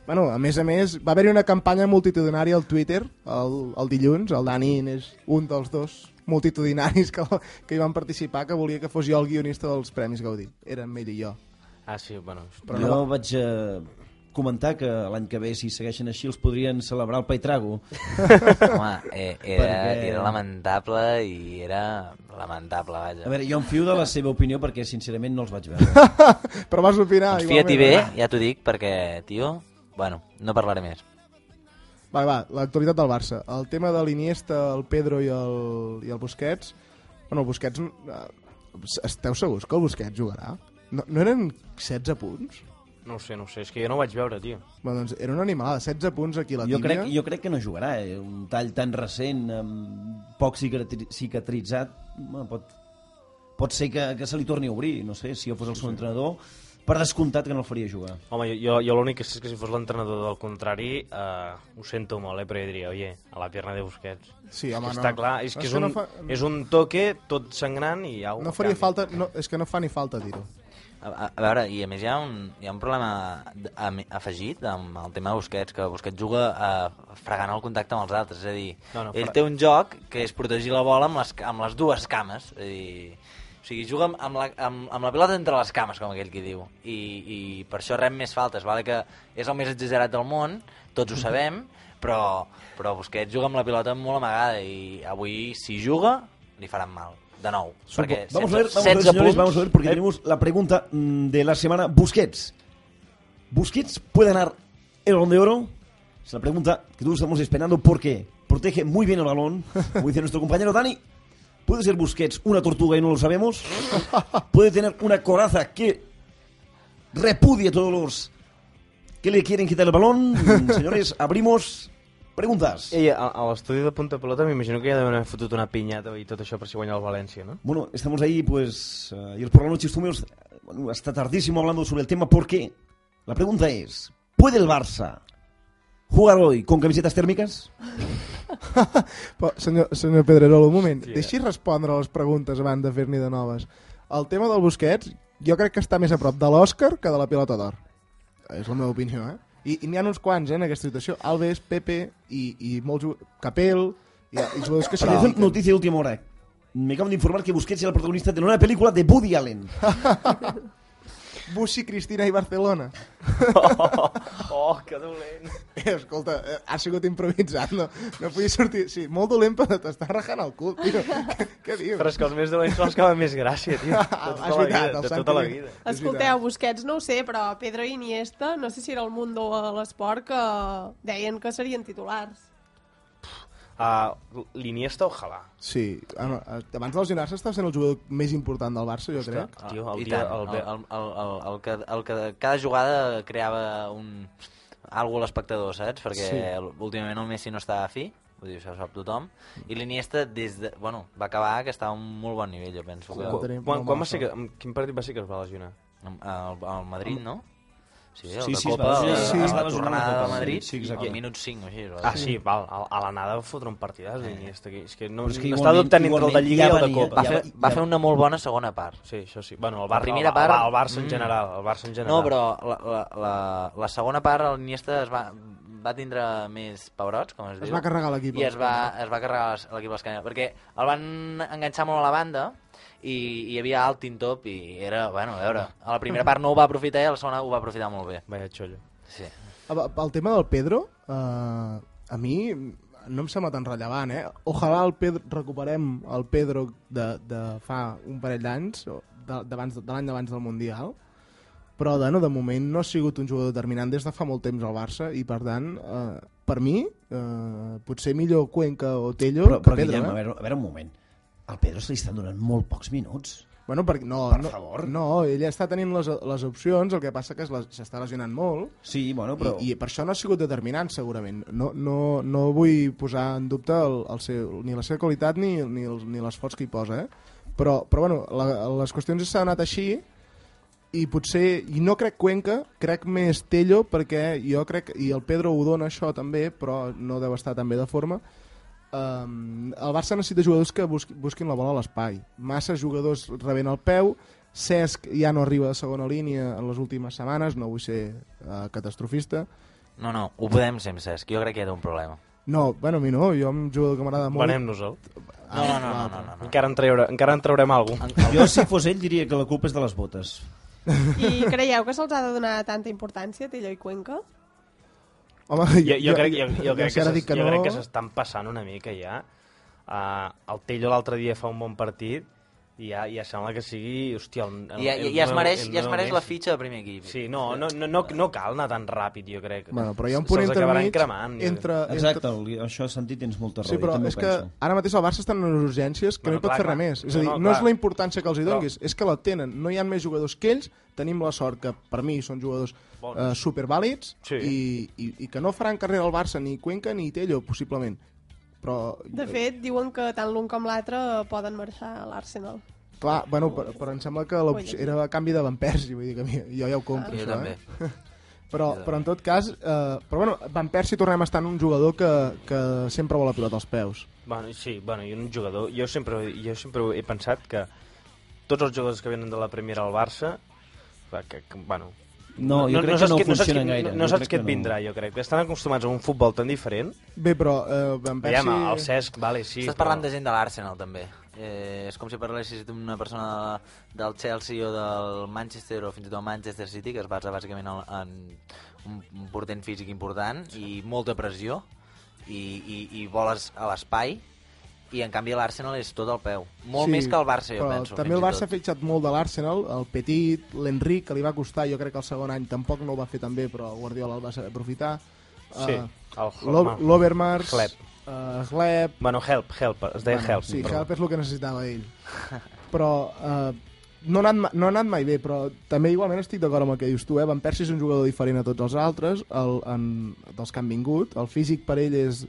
S7: bueno, a més a més, va haver-hi una campanya multitudinària al Twitter el, el dilluns. El Dani n'és un dels dos multitudinaris que, que hi van participar, que volia que fos jo el guionista dels Premis Gaudí. Eren ell i jo.
S4: Ah, sí, bueno.
S5: Però jo no... vaig eh, comentar que l'any que ve, si segueixen així, els podrien celebrar el Paitrago.
S6: Home, eh, era, perquè... era lamentable i era lamentable, vaja.
S5: A veure, jo em fio de la seva opinió perquè, sincerament, no els vaig veure.
S7: Però vas opinar
S6: Doncs
S7: igualment.
S6: fiat-hi bé, ja t'ho dic, perquè, tio, bueno, no parlaré més.
S7: Va, va, l'actualitat del Barça. El tema de l'Iniesta, el Pedro i el, i el Busquets... Bueno, el Busquets... Eh, esteu segurs que el Busquets jugarà? No, no eren 16 punts?
S4: No ho sé, no ho sé, és que jo no ho vaig veure, tio.
S7: Bueno, doncs era una animalada, 16 punts aquí a la
S5: Jo
S7: tíbia.
S5: crec, jo crec que no jugarà, eh? Un tall tan recent, amb poc cicatri- cicatritzat, home, pot, pot ser que, que se li torni a obrir, no sé, si jo fos el seu entrenador, per descomptat que no el faria jugar.
S4: Home, jo, jo, jo l'únic que sé és que si fos l'entrenador del contrari, eh, ho sento molt, eh, però jo diria, oye, a la pierna de Busquets.
S7: Sí, home,
S4: que
S7: no.
S4: Està clar, és
S7: No,
S4: que
S7: és
S4: és,
S7: que
S4: un,
S7: no
S4: no fa...
S7: fa-
S4: és un toque tot sangrant i au.
S7: No faria falta... No, és que no fa ni falta dir-ho.
S6: A, a, a veure, i a més hi ha un, hi ha un problema d- am- afegit amb el tema de Busquets, que Busquets juga eh, fregant el contacte amb els altres, és a dir,
S4: No, no,
S6: ell
S4: fra-
S6: té un joc que és protegir la bola amb les, ca- amb les dues cames, és a dir, o sigui, juga amb- amb la, amb, amb la pilota entre les cames, com aquell qui diu, i, i per això rep més faltes, vale? que és el més exagerat del món, tots ho sabem, però, però Busquets juga amb la pilota molt amagada i avui, si juga, li faran mal, de nou. perquè
S5: vamos a
S6: 16
S5: ver, vamos a ver, señores,
S6: punts- Eh.
S5: vamos a ver, porque tenemos la pregunta mm, de la semana. Busquets. ¿Busquets puede ganar el balón de oro? Es la pregunta que todos estamos esperando porque protege muy bien el balón, como dice nuestro compañero Dani. ¿Puede ser Busquets una tortuga y no lo sabemos? ¿Puede tener una coraza que repudie a todos los que le quieren quitar el balón? Mm, Señores, abrimos preguntas.
S4: Ei, a, a l'estudi de punta pelota m'imagino que ja deuen haver fotut una pinyata i tot això per si guanya el València, no?
S5: Bueno, estamos ahí, pues, eh, y el por la noche estuvimos eh, bueno, hasta tardísimo hablando sobre el tema porque la pregunta es, ¿puede el Barça jugar hoy con camisetas térmicas?
S7: Però, senyor, senyor Pedrerol, un moment. Yeah. Deixi respondre a les preguntes abans de fer-n'hi de noves. El tema del Busquets, jo crec que està més a prop de l'Òscar que de la pilota d'or. És la meva opinió, eh? I, i n'hi ha uns quants, eh, en aquesta situació. Alves, Pepe i, i molts... ju- Capel... I, i jugadors que s'hi
S5: Pero es
S7: dediquen.
S5: noticia de última hora. Me acaban de informar que Busquets era el protagonista de una nueva película de Woody Allen.
S7: Bushi, Cristina i Barcelona.
S4: Oh, que dolent.
S7: Eh, escolta, eh, ha sigut improvisat, no, no podia sortir... Sí, molt dolent, però t'està rajant el cul, tio. Què, què dius?
S4: Però és que els més dolents són els que van més gràcia, tio. De tota
S7: Ah, és
S4: la
S7: veritat,
S4: vida,
S7: el
S4: de
S7: Sant
S4: tota la
S7: Climent.
S4: vida.
S8: Escolteu, Busquets, no ho sé, però Pedro i Iniesta, no sé si era el Mundo o l'Esport, que deien que serien titulars.
S4: Uh, L'Iniesta, ojalà.
S7: Sí, ah, no, eh, abans de lesionar-se estava sent el jugador més important del Barça, jo Ostres, crec.
S4: Tio, el
S6: I
S4: dia,
S6: tant,
S4: el,
S6: Ah, el, el, el, el, el, que, el que cada jugada creava un... algo a l'espectador, saps? Perquè
S4: Sí.
S6: sí. últimament el Messi no estava fi, vull dir, això ho sap tothom, i l'Iniesta des de... Bueno, va acabar que estava a un molt bon nivell, jo penso. Que...
S4: Quan, quan, quan va ser que, en quin partit va ser que es va lesionar?
S6: Al, al Madrid, no? Sí,
S4: Sí,
S6: el
S4: sí,
S6: de
S4: sí,
S6: Copa,
S4: es va-
S6: el-
S4: sí, sí.
S6: el-
S4: Estava
S6: la
S4: sonant
S6: tornada
S4: a
S6: de
S4: Copa,
S6: Madrid,
S4: sí,
S6: sí,
S4: exacte.
S6: al minut 5 o així. o
S4: Ah,
S6: així.
S4: sí, val. A, a l'anada va fotre un partidàs i està aquí. És que no, és
S6: Però és
S4: que està
S6: que Mm, igualment-
S4: dubtant entre el de
S6: igualment
S4: Lliga
S6: ja
S4: i el de
S6: venia-
S4: Copa.
S6: ja va- va fer una molt bona segona part.
S4: Sí, això sí. Bueno, el
S6: La
S4: Barça,
S6: primera
S4: el,
S6: part...
S4: el, el Barça en
S6: Mm.
S4: general. El Barça en general.
S6: No, però la, la, la, la segona part el Niesta es va, va tindre més pebrots, com es,
S7: Es
S6: diu.
S7: va carregar l'equip.
S6: I es va, es va carregar les- l'equip d'Escanya, perquè el van enganxar molt a la banda i, i hi havia alt top i era, bueno, a veure, a la primera part no ho va aprofitar i a la segona ho va aprofitar molt bé.
S4: Vaya xollo.
S6: Sí.
S7: El el tema del Pedro, eh, a mi no em sembla tan rellevant, eh? Ojalà el Pedro, recuperem el Pedro de, de fa un parell d'anys, o de, d'abans- de l'any d'abans del Mundial, però de, no, de moment no ha sigut un jugador determinant des de fa molt temps al Barça i per tant, eh, per mi, eh, potser millor Cuenca o Tello
S17: Però, però
S7: que Pedro.
S17: Guillem, a
S7: eh?
S17: veure, a veure un moment. Al Pedro se li estan donant molt pocs minuts.
S7: Bueno, perquè no, no, favor. no, ell està tenint les, les opcions, el que passa que es les- s'està lesionant molt.
S17: Sí, bueno, però-
S7: I, I per això no ha sigut determinant, segurament. No, no, no vull posar en dubte el, el seu, ni la seva qualitat ni, ni, el, ni l'esforç que hi posa, eh? Però, però bueno, la, les qüestions s'han anat així i potser, i no crec Cuenca, crec més Tello perquè jo crec, i el Pedro ho dona això també, però no deu estar tan bé de forma, um, el Barça necessita jugadors que busqui, busquin la bola a l'espai. Massa jugadors rebent el peu, Cesc ja no arriba de segona línia en les últimes setmanes, no vull ser uh, catastrofista.
S6: No, no, ho podem ser amb Cesc, jo crec que hi ha un problema.
S7: No, bueno, a mi no, jo em jugador que m'agrada molt.
S4: Venem-nos-el.
S6: No, no, no, no, no, no, no.
S4: Encara en, treure, encara en traurem alguna cosa.
S17: Jo, si fos ell, diria que la culpa és de les botes.
S8: I creieu que se'ls ha de donar tanta importància, Tello i Cuenca?
S7: Home,
S4: jo, jo, crec, jo, jo, crec,
S7: si
S4: que
S7: ara
S4: s'es-
S7: dic que
S4: jo
S7: no-
S4: crec que s'estan passant una mica ja. Uh, el Tello l'altre dia fa un bon partit i ja, ja sembla que sigui... Hòstia, el, el,
S6: I ja-
S4: el
S6: ja es
S4: meu-
S6: mereix-
S4: el
S6: ja es
S4: meu
S6: mereix
S4: Messi.
S6: la fitxa de primer equip.
S4: Sí, no, no, no, no, no cal anar tan ràpid, jo crec.
S7: Bueno, però hi ha un
S4: Se-
S7: punt
S4: se'ls acabaran
S7: intermig
S4: cremant, jo
S7: entre-
S4: crec.
S17: Exacte, el, això, Santi, tens molta raó.
S7: Sí, però
S17: jo també
S7: és
S17: ho
S7: que
S17: penso.
S7: ara mateix el Barça està en unes urgències que
S17: Bueno,
S7: no hi pot
S17: clar,
S7: fer
S17: clar.
S7: res més. És
S17: No,
S7: a dir,
S17: no,
S7: no,
S17: clar.
S7: és la importància que els hi
S17: Però-
S7: donguis, és que la tenen. No hi ha més jugadors que ells, tenim la sort que per mi són jugadors
S4: Bons.
S7: eh, supervàlids
S4: Sí.
S7: i, i, i que no faran carrera al Barça ni Cuenca ni Tello, possiblement. Però,
S8: De fet, diuen que tant l'un com l'altre poden marxar a l'Arsenal.
S7: clar, bueno, però, però em sembla que l'opció era a canvi de Van Persie, vull dir que a mi, jo ja ho compro,
S6: Ah. Jo
S7: això,
S6: també.
S7: eh? Però, però en tot cas, eh, però bueno, Van Persie tornem a estar en un jugador que, que sempre vol la pilota als peus.
S4: Bueno, sí, bueno, i un jugador... Jo sempre, jo sempre he pensat que tots els jugadors que venen de la primera al Barça, va, que, que, bueno...
S17: No, jo crec que
S4: saps
S17: no
S4: qui- saps
S17: funcionen
S4: qui-
S17: gaire,
S4: No, no
S17: jo
S4: saps
S17: crec
S4: què
S17: que
S4: et
S17: no.
S4: vindrà, jo crec. Estan acostumats a un futbol tan diferent.
S7: Bé, però eh, Van Persie...
S4: Aviam, el Cesc, vale, sí.
S6: Estàs parlant de gent de l'Arsenal, també. Eh, és com si parlessis d'una persona de, del Chelsea o del Manchester o fins i tot del Manchester City, que es basa bàsicament en, en un, un portent físic important i molta pressió i, i, i voles a l'espai i en canvi l'Arsenal és tot al peu. Molt més que el Barça, jo
S7: però
S6: penso.
S7: També
S6: fins
S7: el
S6: i
S7: Barça
S6: tot.
S7: ha fitxat molt de l'Arsenal, el Petit, l'Enric, que li va costar, jo crec que el segon any tampoc no ho va fer tan bé, però Guardiola el va saber aprofitar.
S4: Sí,
S7: Eh,
S4: el
S7: Lo-
S4: Hotman.
S7: L'Overmars,
S4: Gleb.
S7: eh, Gleb...
S4: Bueno, help, help, es deia help.
S7: Sí,
S4: perdó.
S7: Help és el que necessitava ell. Però eh, no, ha anat, ma- no ha anat mai bé, però també igualment estic d'acord amb el que dius tu, eh? Van Persie és un jugador diferent a tots els altres, el, en, dels que han vingut. El físic per ell és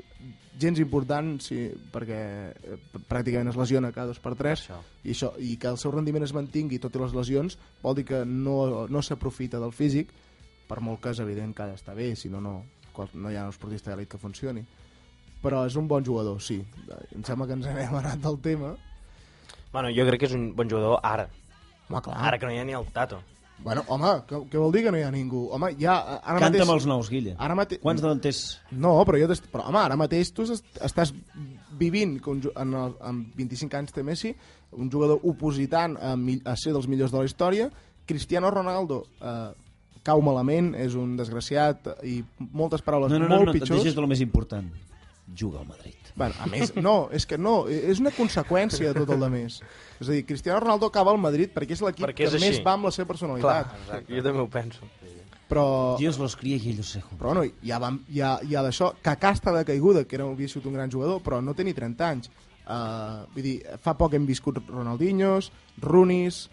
S7: gens important sí, perquè eh, pràcticament es lesiona cada dos per tres
S6: Això.
S7: i, això, i que el seu rendiment es mantingui tot i les lesions vol dir que no, no s'aprofita del físic per molt que és evident que ha d'estar bé si no, no, qual- no hi ha un esportista d'elit que funcioni però és un bon jugador, sí em sembla que ens hem anat del tema
S4: Bueno, jo crec que és un bon jugador ara.
S7: Home, clar.
S4: Ara que no hi ha ni el Tato.
S7: bueno, home, què, què vol dir que no hi ha ningú? Home, ja, eh, ara
S17: Canta'm
S7: mateix...
S17: els nous, Guille.
S7: Ara mate...
S17: Quants davanters?
S7: No, però, jo t'est- però home, ara mateix tu est- estàs vivint que un ju- en, el, amb 25 anys té Messi, un jugador opositant a, mi- a ser dels millors de la història. Cristiano Ronaldo eh, cau malament, és un desgraciat i moltes
S17: No,
S7: paraules
S17: no, no,
S7: molt
S17: no, et
S7: pitjors.
S17: deixes de lo més important. Juga al Madrid.
S7: Bueno, a més, no, és que no, és una conseqüència de tot el de més. És a dir, Cristiano Ronaldo acaba al Madrid perquè és l'equip
S4: Perquè
S7: que
S4: és així.
S7: més va amb la seva personalitat.
S4: Clar, jo també ho penso.
S7: Però...
S17: Dios los cria i ellos se juntan.
S7: Però bueno, ja, vam, ja, ja d'això, Kaká està de caiguda, que era, havia sigut un gran jugador, però no té ni 30 anys. Uh, vull dir, fa poc hem viscut Ronaldinhos, Runis,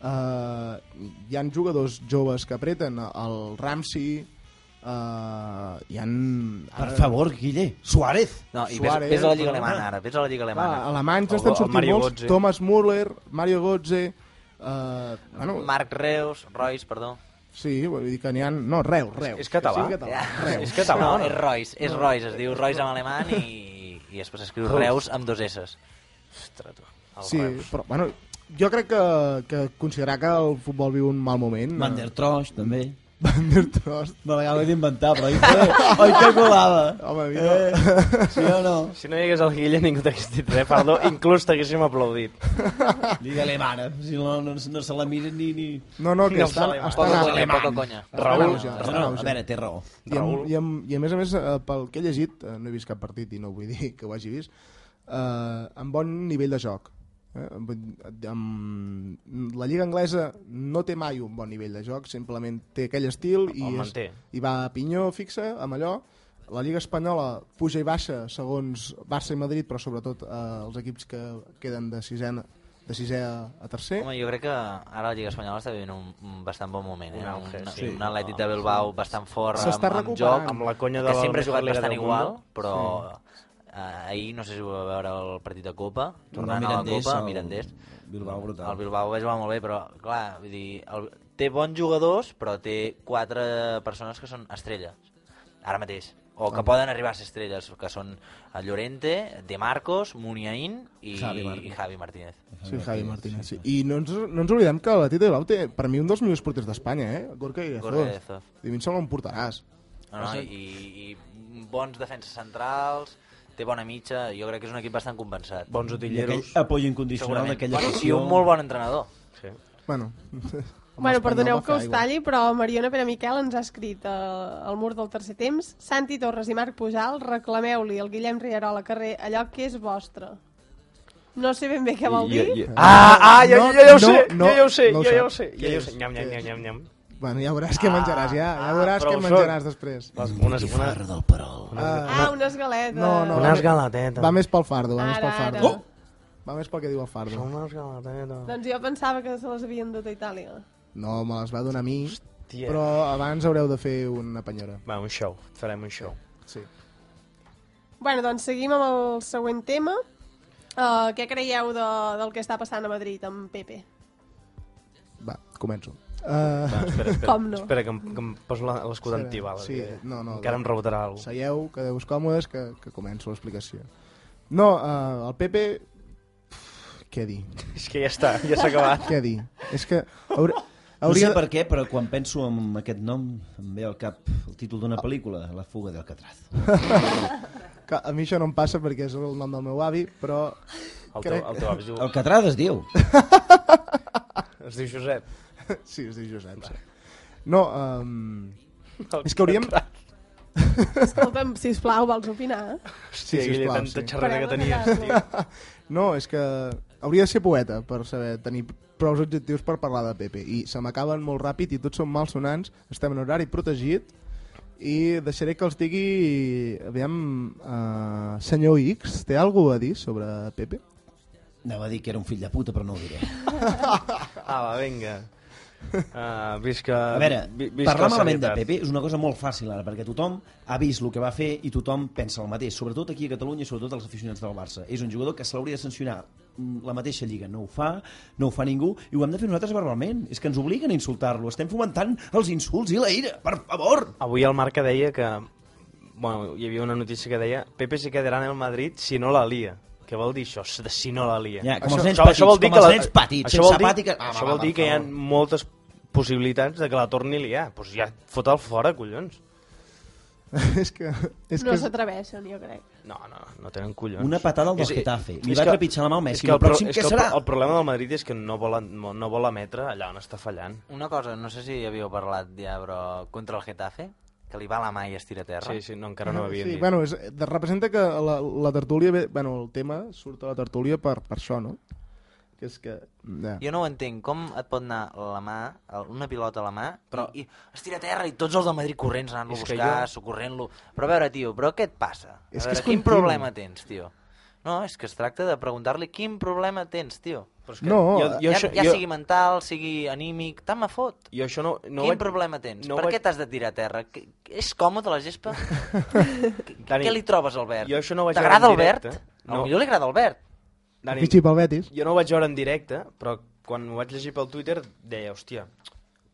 S7: uh, hi han jugadors joves que apreten, el Ramsey, uh, hi han...
S17: Per favor, Guille, Suárez.
S6: No, i ves, ves a la Lliga Alemana, ara. Ves a la Lliga Alemana.
S7: Clar, alemanys n'estan sortint molts. Thomas Müller, Mario Götze... Uh, bueno,
S6: Marc Reus, Reus, perdó.
S7: Sí, vull dir que n'hi ha... No, Reus, Reus.
S6: És català?
S7: Sí, català.
S6: Ja.
S7: Reus.
S6: És català, No, no? és Reus, és Reus, es diu Reus en alemany i- i després s'escriu Reus amb dos S's. Ostres, tu. El
S7: Sí,
S6: Reus.
S7: però, bueno, jo crec que, que considerar que el futbol viu un mal moment... eh.
S17: Van der Trosch, també.
S7: Van der Trost.
S17: Me l'acabo d'inventar, però oi que, oi que colava.
S7: Home,
S17: mira. Eh, sí o no?
S4: Si no hi hagués el Guille ningú t'hagués dit res, perdó, inclús t'haguéssim aplaudit.
S17: Digue-li, mare, si no, no, no se la miren ni... ni...
S7: No, no, que No estan- se la miren. estan Poca conya, poca conya.
S17: Raül,
S7: Raül,
S17: no,
S7: ja,
S17: no,
S7: Raül,
S17: a
S7: ja.
S17: veure, té raó.
S7: I, amb, i, amb, I a més a més, eh, pel que he llegit, eh, no he vist cap partit i no vull dir que ho hagi vist, eh, amb bon nivell de joc. Eh? Vull dir, Amb... La Lliga Anglesa no té mai un bon nivell de joc, simplement té aquell estil i,
S4: El
S7: és,
S4: manté.
S7: i va a pinyó fixa amb allò. La Lliga Espanyola puja i baixa segons Barça i Madrid, però sobretot eh, els equips que queden de sisena de sisè a, a tercer.
S6: Home, jo crec que ara la Lliga Espanyola està vivint un, un bastant bon moment, eh?
S4: Un auge,
S6: un,
S4: sí.
S6: un Atlètic de Bilbao
S4: Sí.
S6: bastant fort,
S4: S'està
S6: amb, amb
S4: recuperant.
S6: joc,
S4: Amb la conya de
S6: que
S4: la
S6: sempre ha jugat
S4: Mejor Liga
S6: bastant
S4: del
S6: igual,
S4: Mundo.
S6: però eh, ahir, no sé si ho va veure el partit de Copa,
S17: No,
S6: tornant a la
S17: Mirandés,
S6: Copa,
S17: el-
S6: el Mirandés.
S17: Bilbao brutal.
S6: El Bilbao va jugar molt bé, però, clar, vull dir, el, té bons jugadors, però té quatre persones que són estrelles, ara mateix. O que
S17: Ah.
S6: poden arribar a ser estrelles, que són el Llorente, De Marcos, Muniain i
S17: Javi
S6: Javi,
S17: Martínez.
S6: i Javi Martínez.
S7: Sí, Javi Martínez. Sí. I no ens, no ens oblidem que l'Atleti de Bilbao té, per mi, un dels millors porters d'Espanya, eh? Gorka
S6: Gorka
S7: Iglesias.
S6: Iglesias.
S7: I a mi em sembla un portaràs.
S6: No, no, i, i bons defenses centrals, té bona mitja, jo crec que és un equip bastant compensat.
S4: Bons
S17: utilleros. I aquell apoy incondicional
S6: Segurament.
S17: d'aquella
S6: bueno, I
S17: afició.
S6: un molt bon entrenador.
S4: Sí.
S7: Bueno.
S8: Bueno,
S6: Espanyol
S8: perdoneu
S6: va
S8: que
S6: fer
S8: us
S6: aigua.
S8: talli, però Mariona Pere Miquel ens ha escrit eh, al mur del tercer temps Santi Torres i Marc Pujal, reclameu-li al Guillem Rierola Carrer allò que és vostre. No sé ben bé què vol dir.
S4: Ah, ah, ja,
S7: No,
S4: ja, ja ho
S7: no,
S4: sé,
S7: no,
S4: ja, ja ho sé,
S7: no ho
S4: ja, ja ho
S7: sap.
S4: sé,
S7: Què
S4: ja, ja ho
S7: és?
S4: sé. Nyam, nyam, nyam, nyam, nyam.
S7: Bueno, ja veuràs
S8: Ah,
S7: què menjaràs, ja. Ja veuràs
S4: però
S7: què
S4: ho
S7: menjaràs
S4: són.
S7: després.
S4: Les- unes- Un fardo
S17: del perol.
S8: Ah, unes galetes.
S7: No, no,
S4: Unes
S7: va-
S4: galatetes.
S7: Va més pel fardo, va més pel
S8: Ara, ara.
S7: fardo. Oh! Va més pel que diu el fardo.
S4: Són unes galatetes.
S8: Doncs jo pensava que se les havien dut a Itàlia.
S7: No, me les va donar a mi, però abans haureu de fer una penyora.
S4: Va, un show, farem un show.
S7: Sí.
S8: Bueno, doncs seguim amb el següent tema. Uh, què creieu de, del que està passant a Madrid amb Pepe?
S7: Va, començo. Uh...
S4: Va, espera, espera,
S8: Com no?
S4: espera que, em, que em poso la- l'escut
S7: Espera,
S4: antibala.
S7: sí, no, no,
S4: encara
S7: no.
S4: em rebotarà alguna cosa.
S7: Seieu, quedeu-vos còmodes, que, que començo l'explicació. No, eh, el Pepe... Uf, Què dir?
S4: És que ja està, ja s'ha acabat.
S7: Què dir? És que... Hauré...
S17: No
S7: Hauria...
S17: sé per què, però quan penso en aquest nom em ve al cap el títol d'una pel·lícula, La fuga d'Alcatraz.
S7: que a mi això no em passa perquè és el nom del meu avi, però...
S4: El teu- el teu avi es diu-
S17: Alcatraz es diu.
S4: Es diu Josep.
S7: Sí, es diu Josep, sí. No, um... és que hauríem...
S8: Escolta'm, sisplau, vols opinar?
S7: Sí,
S4: Hòstia, Guille,
S7: sisplau,
S4: tanta
S7: sí.
S4: xerrada que
S8: Pareu de
S4: tenies, tio.
S7: No, és que hauria de ser poeta per saber tenir prou objectius per parlar de Pepe i se m'acaben molt ràpid i tots són malsonants estem en horari protegit i deixaré que els digui aviam, uh, senyor X té alguna a dir sobre Pepe?
S17: Anava a dir que era un fill de puta, però no ho diré.
S4: Ah, va, vinga. Uh, visca,
S17: A veure,
S4: vi- visca
S17: parlar
S4: la
S17: malament de
S4: serietat.
S17: Pepe és una cosa molt fàcil ara, perquè tothom ha vist el que va fer i tothom pensa el mateix, sobretot aquí a Catalunya i sobretot els aficionats del Barça. És un jugador que se l'hauria de sancionar Mm, la mateixa lliga. No ho fa, no ho fa ningú, i ho hem de fer nosaltres verbalment. És que ens obliguen a insultar-lo. Estem fomentant els insults i la ira, per favor!
S4: Avui el Marca deia que... Bueno, hi havia una notícia que deia Pepe se quedarà en el Madrid si no la lia. Què vol dir això, de si no la lia?
S17: Ja, com
S4: això,
S17: els nens
S4: això-
S17: petits,
S4: això vol dir
S17: com
S4: que
S17: els
S4: la-
S17: nens petits,
S4: Això vol
S17: sense
S4: dir,
S17: pati que- Ah,
S4: això
S17: va,
S4: vol
S17: va,
S4: dir
S17: per
S4: que hi ha
S17: favor.
S4: moltes possibilitats de que la torni a liar. Doncs pues ja fota'l fora, collons.
S7: és que... És
S8: no
S7: que...
S8: s'atreveixen, jo crec.
S4: No, no, no tenen collons.
S17: Una patada al del
S4: És-
S17: Getafe. Li
S4: és
S17: va
S4: que-
S17: trepitjar la mà al
S4: és
S17: Messi.
S4: que
S17: El
S4: pro-
S17: pròxim
S4: és
S17: què
S4: que el-
S17: serà?
S4: El problema del Madrid és que no vol, no, no vol emetre allà on està fallant.
S6: Una cosa, no sé si havíeu parlat ja, però contra el Getafe, que li va la mà i es tira a terra.
S4: Sí, sí, no, encara no eh. ho havien
S7: sí,
S4: dit.
S7: bueno, és, de- representa que la, la tertúlia ve, bueno, el tema surt a la tertúlia per, per això, no? que és que... Ja.
S6: Jo no ho entenc, com et pot anar la mà, el- una pilota a la mà, però... i, i es tira a terra i tots els de Madrid corrents anant-lo a
S4: Mm. És que
S6: buscar,
S4: jo-
S6: jo... socorrent-lo... Però a veure, tio, però què et passa? A
S4: És que
S6: veure,
S4: és
S6: quin
S4: continu.
S6: problema tens, tio? No, és que es tracta de preguntar-li quin problema tens, tio. Però
S4: és que No, jo- jo
S6: jo, jo, ja,
S4: això-
S6: ja
S4: jo-
S6: sigui mental, sigui anímic, tant me fot.
S4: Jo això no, no
S6: No quin
S4: vaig-
S6: problema tens?
S4: no
S6: No per
S4: vaig-
S6: què t'has de tirar a terra? Que, que és còmode la gespa?
S4: Dani,
S6: Dani, què li trobes al verd?
S4: jo això no ho vaig
S6: T'agrada
S4: veure en
S6: el verd?
S4: directe.
S6: No.
S4: No.
S6: Potser li agrada el verd.
S4: Dani,
S7: Pichi pel Betis.
S4: Jo no ho vaig veure en directe, però quan ho vaig llegir pel Twitter deia, hòstia,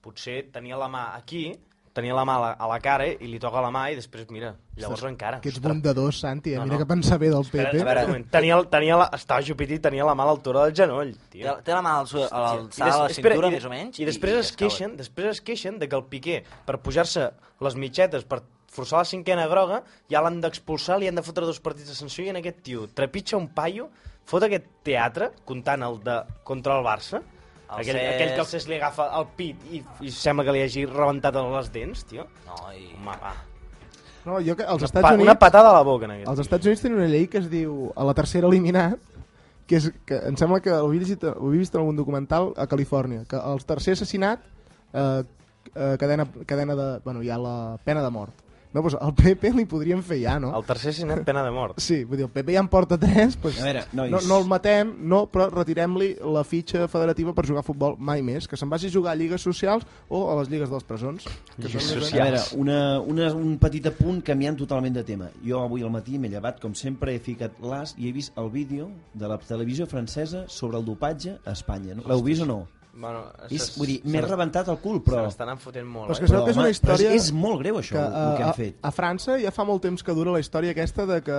S4: potser tenia la mà aquí, tenia la mà a la, a la cara i li toca la mà i després, mira, llavors
S7: Ostres,
S4: encara.
S7: Que ets bondadós, Santi, eh? mira que pensar bé del
S4: Espera,
S7: Pepe.
S4: a veure, un moment. tenia, el- tenia la, estava Jupiter i tenia la mà a l'altura del genoll. Tio.
S6: Té- té la mà al su- a l'alçada
S4: I des-
S6: de la
S4: espera, i
S6: cintura,
S4: de-
S6: més o menys,
S4: I
S6: i- eh.
S4: després
S6: i
S4: es
S6: es cau.
S4: queixen, després es queixen de que el Piqué, per pujar-se les mitxetes, per forçar la cinquena groga, ja l'han d'expulsar, li han de fotre dos partits de sanció i en aquest tio trepitja un paio, fot aquest teatre, comptant el de contra el Barça,
S6: El
S4: aquell,
S6: Cesc.
S4: aquell que el Cesc li agafa el pit i, i sembla que li hagi rebentat les dents, tio.
S6: No, i...
S4: Home, va.
S7: No, jo que als
S4: Una
S7: Estats
S4: pa-
S7: Units...
S4: una patada a la boca, en aquest
S7: Als Estats Units tenen una llei que es diu a la tercera eliminat, que, és, que em sembla que ho he, llegit, ho he vist en algun documental a Califòrnia, que el tercer assassinat, eh, eh, cadena, cadena de... Bueno, hi ha la pena de mort. No, doncs al PP li podrien fer ja, no?
S4: El tercer assassinat, pena de mort.
S7: Sí, vull dir, el PP ja en porta 3, doncs
S4: A veure, nois.
S7: no, no el matem, no, però retirem-li la fitxa federativa per jugar a futbol mai més, que se'n vagi a jugar a lligues socials o a les lligues dels presons. Que són més-
S17: A veure, una, una, un petit apunt canviant totalment de tema. Jo avui al matí m'he llevat, com sempre, he ficat l'as i he vist el vídeo de la televisió francesa sobre el dopatge a Espanya. No? L'heu vist o no?
S4: Bueno,
S17: és,
S4: s'es-
S17: vull dir, m'he
S4: s'es-
S17: rebentat el cul, però...
S4: Se n'estan enfotent molt,
S7: Però és
S4: eh?
S7: que sabeu que és una història... eh,
S17: Però és, és molt greu, això, que, el que
S7: a,
S17: han fet.
S7: A França ja fa molt temps que dura la història aquesta de que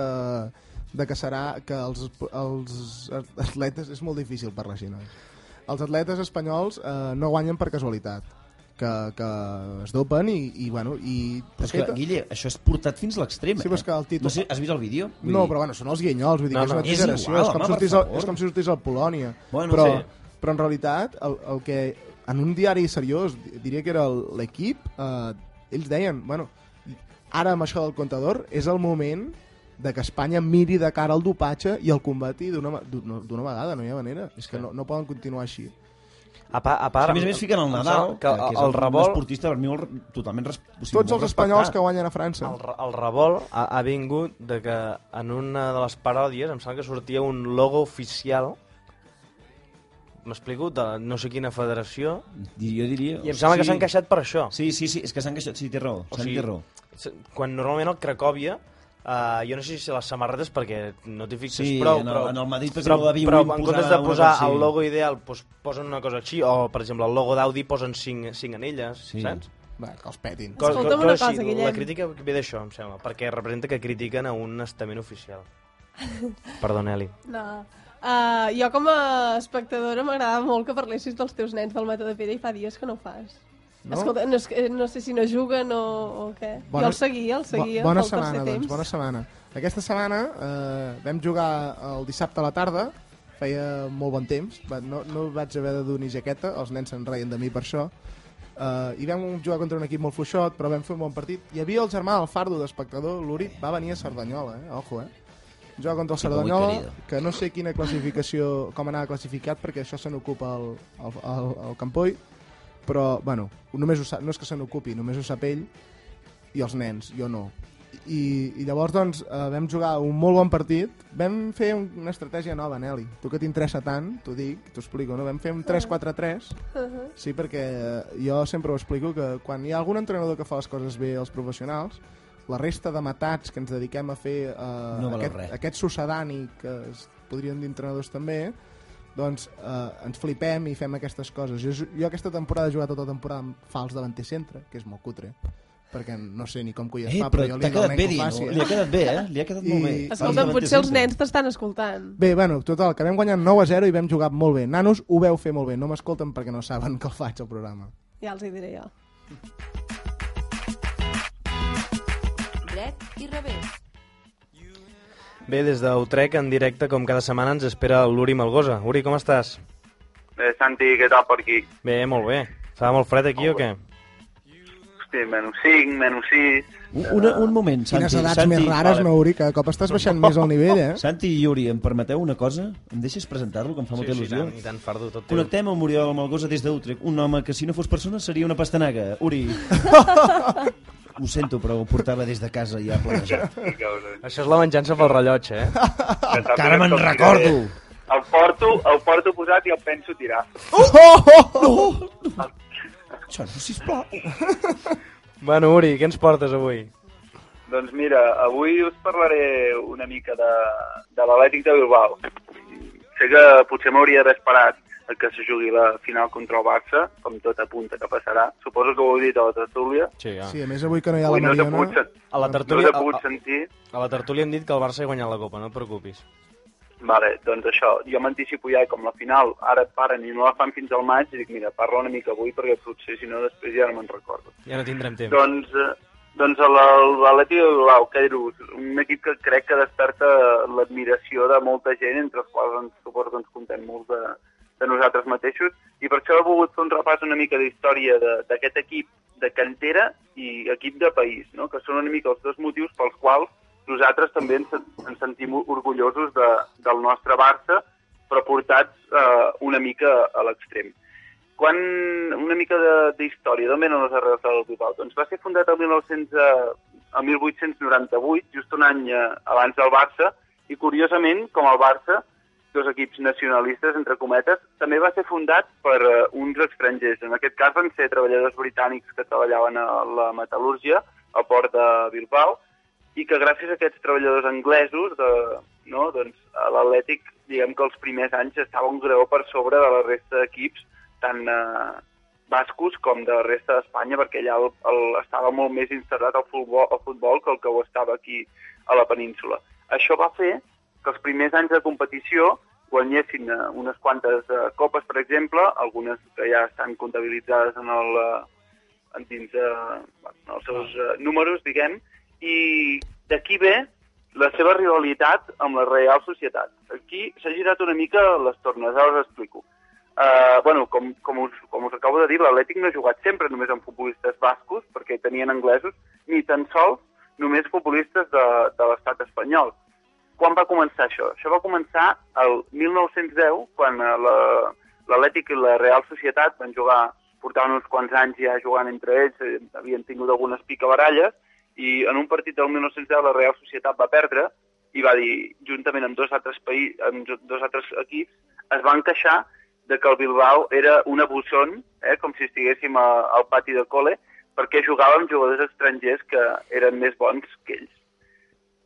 S7: de que serà que els, els atletes... És molt difícil per la Xina. Els atletes espanyols eh, no guanyen per casualitat. Que, que es dopen i, i bueno... I,
S17: Però és que, Guille, això és portat fins a l'extrem, eh?
S7: Sí, però és que el títol...
S17: No sé, has vist el vídeo? Vull
S7: No,
S17: dir-
S7: però bueno, són els guinyols, vull dir
S17: No,
S7: no, que és
S17: no,
S7: una
S17: és
S7: exageració.
S17: igual,
S7: És, com
S17: home, per
S7: sortís al,
S17: favor.
S7: és com si sortís al Polònia.
S17: Bueno,
S7: però,
S17: sí.
S7: però en realitat, el, el que en un diari seriós, di- diria que era el- l'equip, eh, ells deien, bueno, ara amb això del contador és el moment de que Espanya miri de cara al dopatge i el combati d'una ma- d'una d'una vegada, no hi ha manera. És que no, no poden continuar així.
S4: A, pa, a
S17: a més a més fiquen el Nadal, que, que, és
S4: el
S17: un
S4: revol-
S17: esportista per mi molt, re- totalment res, o sigui, molt
S7: Tots els espanyols
S17: respectat.
S7: que guanyen a França.
S4: El, re- el revol ha, ha vingut de que en una de les paròdies em sembla que sortia un logo oficial m'explico, de no sé quina federació
S17: Di- Jo diria...
S4: i em sembla que s'han queixat per això
S17: Sí, sí, sí, és que s'han queixat, sí, té raó, Santi té raó.
S4: s- quan normalment el Cracòvia eh, jo no sé si les samarretes perquè no t'hi fixes
S17: Sí,
S4: prou,
S17: en el-
S4: però,
S17: en el Madrid, per
S4: però,
S17: exemple, l'Avi
S4: però
S17: Wynn
S4: en
S17: posava
S4: comptes de
S17: una
S4: posar
S17: cosa així.
S4: el logo ideal doncs, posen una cosa així, o per exemple el logo d'Audi posen cinc, cinc anelles, sí. saps?
S7: Va, que els petin.
S4: Cos-
S7: Escolta'm
S4: cos-
S7: una
S4: així.
S7: cosa, Guillem.
S4: La crítica ve d'això, em sembla, perquè representa que critiquen a un estament oficial. Perdona, Eli.
S8: No. Uh, jo com a espectadora m'agradava molt que parlessis dels teus nens del Mata de Pere i fa dies que no ho fas.
S7: No?
S8: No? Escolta, no, és que- no sé si no juguen o, o què. Bona... Jo el seguia, el seguia.
S7: Bo bona
S8: pel tercer
S7: setmana, doncs,
S8: temps.
S7: bona setmana. Aquesta setmana eh, vam jugar el dissabte a la tarda, feia molt bon temps, va- no, no vaig haver de dur ni jaqueta, els nens se'n reien de mi per això, eh, i vam jugar contra un equip molt fluixot, però vam fer un bon partit. Hi havia el germà del Fardo, d'espectador, l'Uri, va venir a Cerdanyola, eh? ojo, eh? Juga contra el
S17: Tipo muy
S7: Cerdanyola,
S17: querido.
S7: que no sé quina classificació, com anava classificat, perquè això se n'ocupa el, el, el, el Campoy, però, bueno, només ho sap, no és que se n'ocupi, només ho sap ell, i els nens, jo no. I, i llavors doncs, eh, vam jugar un molt bon partit, vam fer un, una estratègia nova, Nelly. Tu que t'interessa tant, t'ho dic, t'ho explico, no? Vam fer un 3-4-3,
S8: Mhm.
S7: sí, perquè eh, jo sempre ho explico, que quan hi ha algun entrenador que fa les coses bé als professionals, la resta de matats que ens dediquem a fer eh,
S17: valeu
S7: aquest,
S17: res.
S7: aquest sucedani, que es podrien dir entrenadors també, doncs eh, ens flipem i fem aquestes coses. Jo, jo aquesta temporada he jugat tota la temporada amb fals davanter centre, que és molt cutre, perquè no sé ni com coi es
S17: Eh,
S7: fa,
S17: però
S7: però, jo li
S17: t'ha
S7: dic al
S17: quedat
S7: nen
S17: bé,
S7: que ho
S17: Dino.
S7: faci,
S17: Li ha quedat bé, eh? Li ha quedat molt bé.
S7: doncs,
S8: Escolta, potser els nens t'estan escoltant.
S7: Bé, bueno, total, que vam guanyar 9 a 0 i vam jugar molt bé. Nanos, ho veu fer molt bé. No m'escolten perquè no saben que el faig, el programa.
S8: Ja els hi diré jo.
S13: Dret i revés.
S4: Bé, des d'Utrec en directe, com cada setmana, ens espera l'Uri Malgosa. Uri, com estàs?
S10: Eh, Santi, què tal per aquí?
S4: Bé, molt bé. Fa molt fred aquí o què?
S10: Hosti, menys 5, menys 6...
S17: Un, una, un moment, Santi.
S7: Quines edats
S17: Santi,
S7: més rares,
S17: vale.
S7: no, Uri, cada cop estàs baixant més el nivell, eh?
S17: Santi i Yuri, em permeteu una cosa? Em deixes presentar-lo, que em fa molta il·lusió?
S4: i tant, fardo, tot teu.
S17: Connectem amb Oriol Malgosa des d'Utrecht, un home que si no fos persona seria una pastanaga. Uri, ho sento, però ho portava des de casa ja
S7: Ah,
S17: planejat.
S4: Això és la venjança pel rellotge, eh?
S17: Encara me'n recordo!
S10: El porto, el porto posat i el penso tirar.
S4: Uh!
S7: Oh, oh, oh!
S10: Ah.
S17: Això no, sisplau.
S4: Bueno, Uri, què ens portes avui?
S10: Doncs mira, avui us parlaré una mica de, de l'Atlètic de Bilbao. Sé que potser m'hauria d'haver esperat a que se jugui la final contra el Barça, com tot apunta que passarà. Suposo que ho heu dit a la tertúlia.
S4: Sí, ah.
S7: Sí, a més avui que no hi ha
S10: Ui,
S7: la
S10: no t'he
S7: Mariona...
S10: pogut,
S4: A
S10: sen-
S17: Doncs
S4: la
S10: no
S4: tertúlia,
S10: t'he pogut
S4: a, a,
S10: sentir.
S4: a la tertúlia hem dit que el Barça ha guanyat la Copa, no et preocupis.
S10: Vale, doncs això, jo m'anticipo ja com la final ara paren i no la fan fins al maig i dic, mira, parla una mica avui perquè potser si no després ja no me'n recordo.
S4: Ja no tindrem temps.
S10: Doncs, eh, doncs el- el- l'Atleti de Bilbao, què dir-ho? Un equip que crec que desperta l'admiració de molta gent, entre els quals ens, suposo que ens comptem molts de, de nosaltres mateixos, i per això he volgut fer un repàs una mica d'història de- d'aquest equip de cantera i equip de país, no? que són una mica els dos motius pels quals nosaltres també ens, ens sentim orgullosos de, del nostre Barça, però portats eh, una mica a l'extrem quan una mica de- d'història, d'on venen les arrels del Bilbao? Doncs va ser fundat el 1900, eh, el 1898, just un any eh, abans del Barça, i curiosament, com el Barça, dos equips nacionalistes, entre cometes, també va ser fundat per eh, uns estrangers. En aquest cas van ser treballadors britànics que treballaven a la metal·lúrgia, a port de Bilbao, i que gràcies a aquests treballadors anglesos de, no, doncs, a l'Atlètic, diguem que els primers anys estava un greu per sobre de la resta d'equips, tant eh, bascos com de la resta d'Espanya, perquè allà el, el, estava molt més instal·lat al futbol, al futbol que el que ho estava aquí a la península. Això va fer que els primers anys de competició guanyessin eh, unes quantes eh, copes, per exemple, algunes que ja estan comptabilitzades en el, eh, en dins de, bueno, en els seus eh, números, diguem, i d'aquí ve la seva rivalitat amb la Real Societat. Aquí s'ha girat una mica les tornes, ara us explico. Uh, bueno, com, com, us, com us acabo de dir, l'Atlètic no ha jugat sempre només amb futbolistes bascos, perquè tenien anglesos, ni tan sols només futbolistes de, de l'estat espanyol. Quan va començar això? Això va començar el 1910, quan eh, la- l'Atlètic i la Real Societat van jugar, portaven uns quants anys ja jugant entre ells, eh, havien tingut algunes picabaralles, i en un partit del 1910 la Real Societat va perdre i va dir, juntament amb dos altres, paï amb jo- dos altres equips, es van queixar de que el Bilbao era una bussón, eh, com si estiguéssim a, al pati de col·le, perquè jugava amb jugadors estrangers que eren més bons que ells.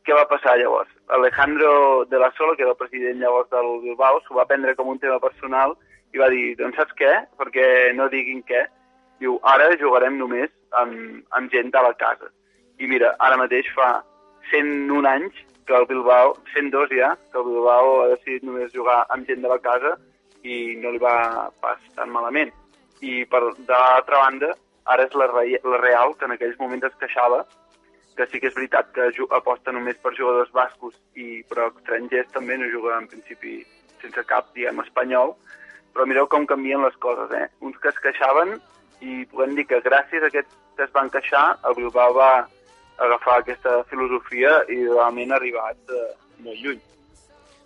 S10: Què va passar llavors? Alejandro de la Sola, que era el president llavors del Bilbao, s'ho va prendre com un tema personal i va dir, doncs saps què? Perquè no diguin què. Diu, ara jugarem només amb, amb gent de la casa. I mira, ara mateix fa 101 anys que el Bilbao, 102 ja, que el Bilbao ha decidit només jugar amb gent de la casa i no li va pas tan malament. I per, de l'altra banda, ara és la, Re- la Real, que en aquells moments es queixava, que sí que és veritat que ju- aposta només per jugadors bascos, i, però estrangers també no juga en principi sense cap, diguem, espanyol. Però mireu com canvien les coses, eh? Uns que es queixaven i podem dir que gràcies a aquests que es van queixar, el Bilbao va agafar aquesta filosofia i realment ha arribat eh, molt lluny.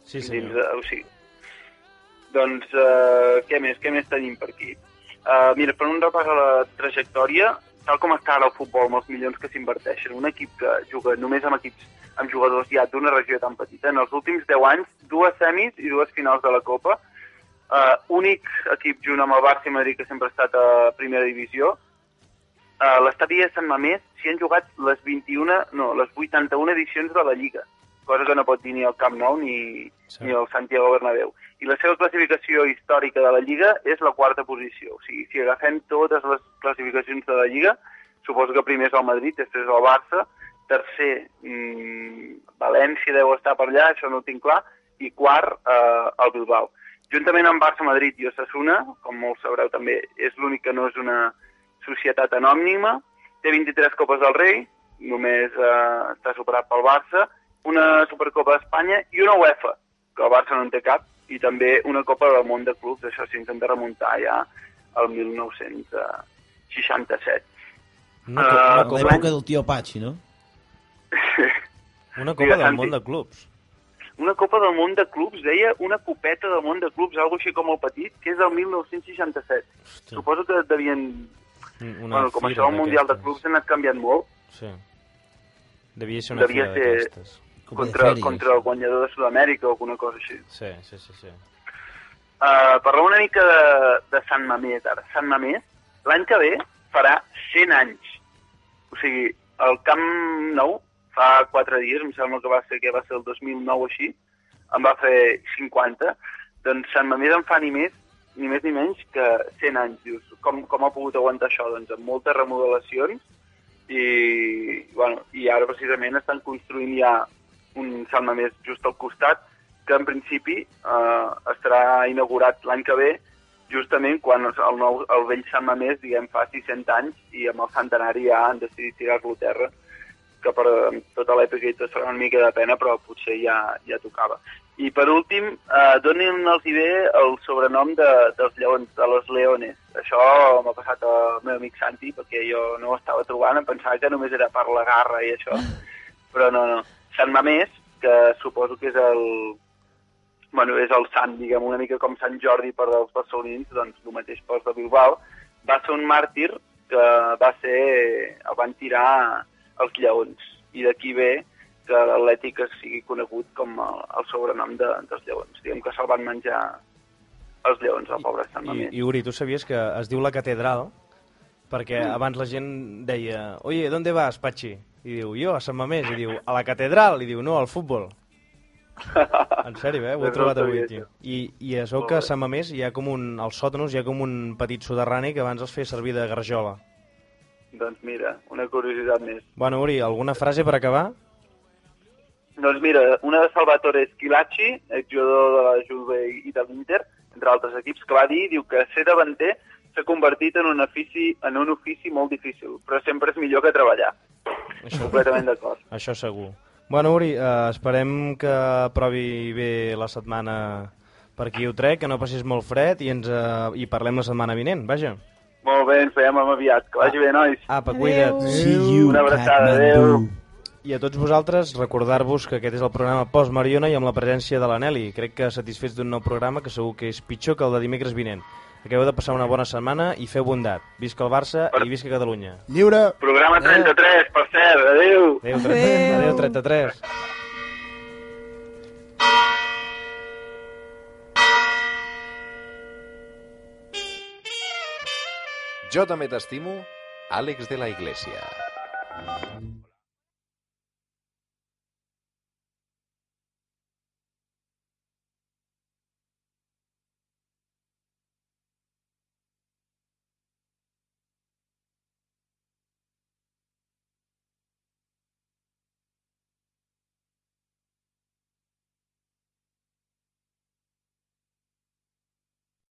S4: Sí,
S10: senyor. Dins, eh, o sigui, doncs, eh, què més? Què més tenim per aquí? Eh, mira, per un repàs a la trajectòria, tal com està ara el futbol amb els milions que s'inverteixen, un equip que juga només amb equips amb jugadors ja d'una regió tan petita, en els últims 10 anys, dues semis i dues finals de la Copa, eh, únic equip junt amb el Barça i Madrid que sempre ha estat a primera divisió, a l'estadi de Sant Mamés s'hi han jugat les 21, no, les 81 edicions de la Lliga, cosa que no pot dir ni el Camp Nou ni, sí. ni el Santiago Bernabéu. I la seva classificació històrica de la Lliga és la quarta posició. O sigui, si agafem totes les classificacions de la Lliga, suposo que primer és el Madrid, després el Barça, tercer, mmm, València deu estar per allà, això no ho tinc clar, i quart, eh, el Bilbao. Juntament amb Barça, Madrid i Osasuna, com molts sabreu també, és l'únic que no és una societat anònima, té 23 Copes del Rei, només eh, està superat pel Barça, una Supercopa d'Espanya i una UEFA, que el Barça no en té cap, i també una Copa del Món de Clubs, això s'intenta remuntar ja al eh, 1967.
S17: Una,
S10: Eh,
S17: co una
S10: com-
S17: l'època del tio Pachi, no?
S4: Una
S10: Digues,
S4: Copa del
S10: Santi.
S4: món de clubs.
S10: Una Copa del Món de Clubs, deia una copeta del Món de Clubs, alguna així com el petit, que és del 1967. Suposo que devien...
S4: Mm, Una
S10: Bueno, com
S4: fira
S10: això, el Mundial de
S4: d'aquestes.
S10: Clubs ha anat canviant molt,
S4: Sí. Devia ser una
S10: devia
S4: fira
S10: ser
S4: d'aquestes.
S10: contra, contra el guanyador de Sud-amèrica o alguna cosa així.
S4: Sí, sí, sí, sí.
S10: Uh, parlem una mica de, de Sant Mamés, ara. Sant Mamés, l'any que ve, farà 100 anys. O sigui, el Camp Nou, fa 4 dies, em sembla que va ser, que va ser el 2009 o així, en va fer 50. Doncs Sant Mamés en fa ni més ni més ni menys que 100 anys. Dius, com, com ha pogut aguantar això? Doncs amb moltes remodelacions i, bueno, i ara precisament estan construint ja un salma més just al costat que en principi eh, estarà inaugurat l'any que ve justament quan el, nou, el vell Sant Mamés, diguem, fa 600 anys i amb el centenari ja han decidit tirar-lo a terra, que per amb tota l'èpica hi serà una mica de pena, però potser ja, ja tocava. I per últim, eh, donin-nos bé el sobrenom de, dels lleons, de los leones. Això m'ha passat al meu amic Santi, perquè jo no ho estava trobant, em pensava que només era per la garra i això, però no, no. Sant Mamés, que suposo que és el, bueno, és el sant, diguem, una mica com Sant Jordi per als barcelonins, doncs el mateix pels de Bilbao, va ser un màrtir que va ser, el van tirar els lleons, i d'aquí ve que l'Atlètic sigui conegut com el, el sobrenom de, dels lleons. Diguem que se'l van menjar els lleons, el pobre Sant
S4: I,
S10: Mamés.
S4: I Uri, tu sabies que es diu la catedral perquè
S10: Mm.
S4: abans la gent deia «Oye, ¿dónde vas, Pachi?» I diu «Jo, a Sant Mamés». I diu «A la catedral?» I diu «No, al futbol». En sèrio, eh? Ho he
S10: Doncs no
S4: trobat
S10: ho
S4: avui,
S10: sabia,
S4: tio.
S10: això.
S4: I, i es veu
S10: Molt
S4: que a
S10: bé.
S4: Sant Mamés hi ha com un... Als sòtanos hi ha com un petit soterrani que abans els feia servir de garjola.
S10: Doncs mira, una curiositat més.
S4: Bueno, Uri, alguna frase per acabar?
S10: Doncs mira, una de Salvatore Schilacci, exjugador de la Juve i de l'Inter, entre altres equips, que va dir, diu que ser davanter s'ha convertit en un, ofici, en un ofici molt difícil, però sempre és millor que treballar.
S4: Això...
S10: Completament d'acord.
S4: Això segur. Bueno, Uri, eh, esperem que provi bé la setmana per aquí a Utrecht, que no passis molt fred i ens eh, i parlem la setmana vinent, vaja.
S10: Molt bé, ens veiem aviat. Que vagi bé, nois.
S4: Apa, cuida't.
S10: Una abraçada, adeu.
S4: I a tots vosaltres, recordar-vos que aquest és el programa Post Mariona i amb la presència de la Nelly. Crec que satisfets d'un nou programa que segur que és pitjor que el de dimecres vinent. Acabeu de passar una bona setmana i feu bondat. Visca el Barça i visca Catalunya.
S7: Lliure!
S10: Programa 33, per cert, adeu.
S4: Adéu, 33. Adéu, 33.
S18: Jo també t'estimo, Àlex de la Iglesia.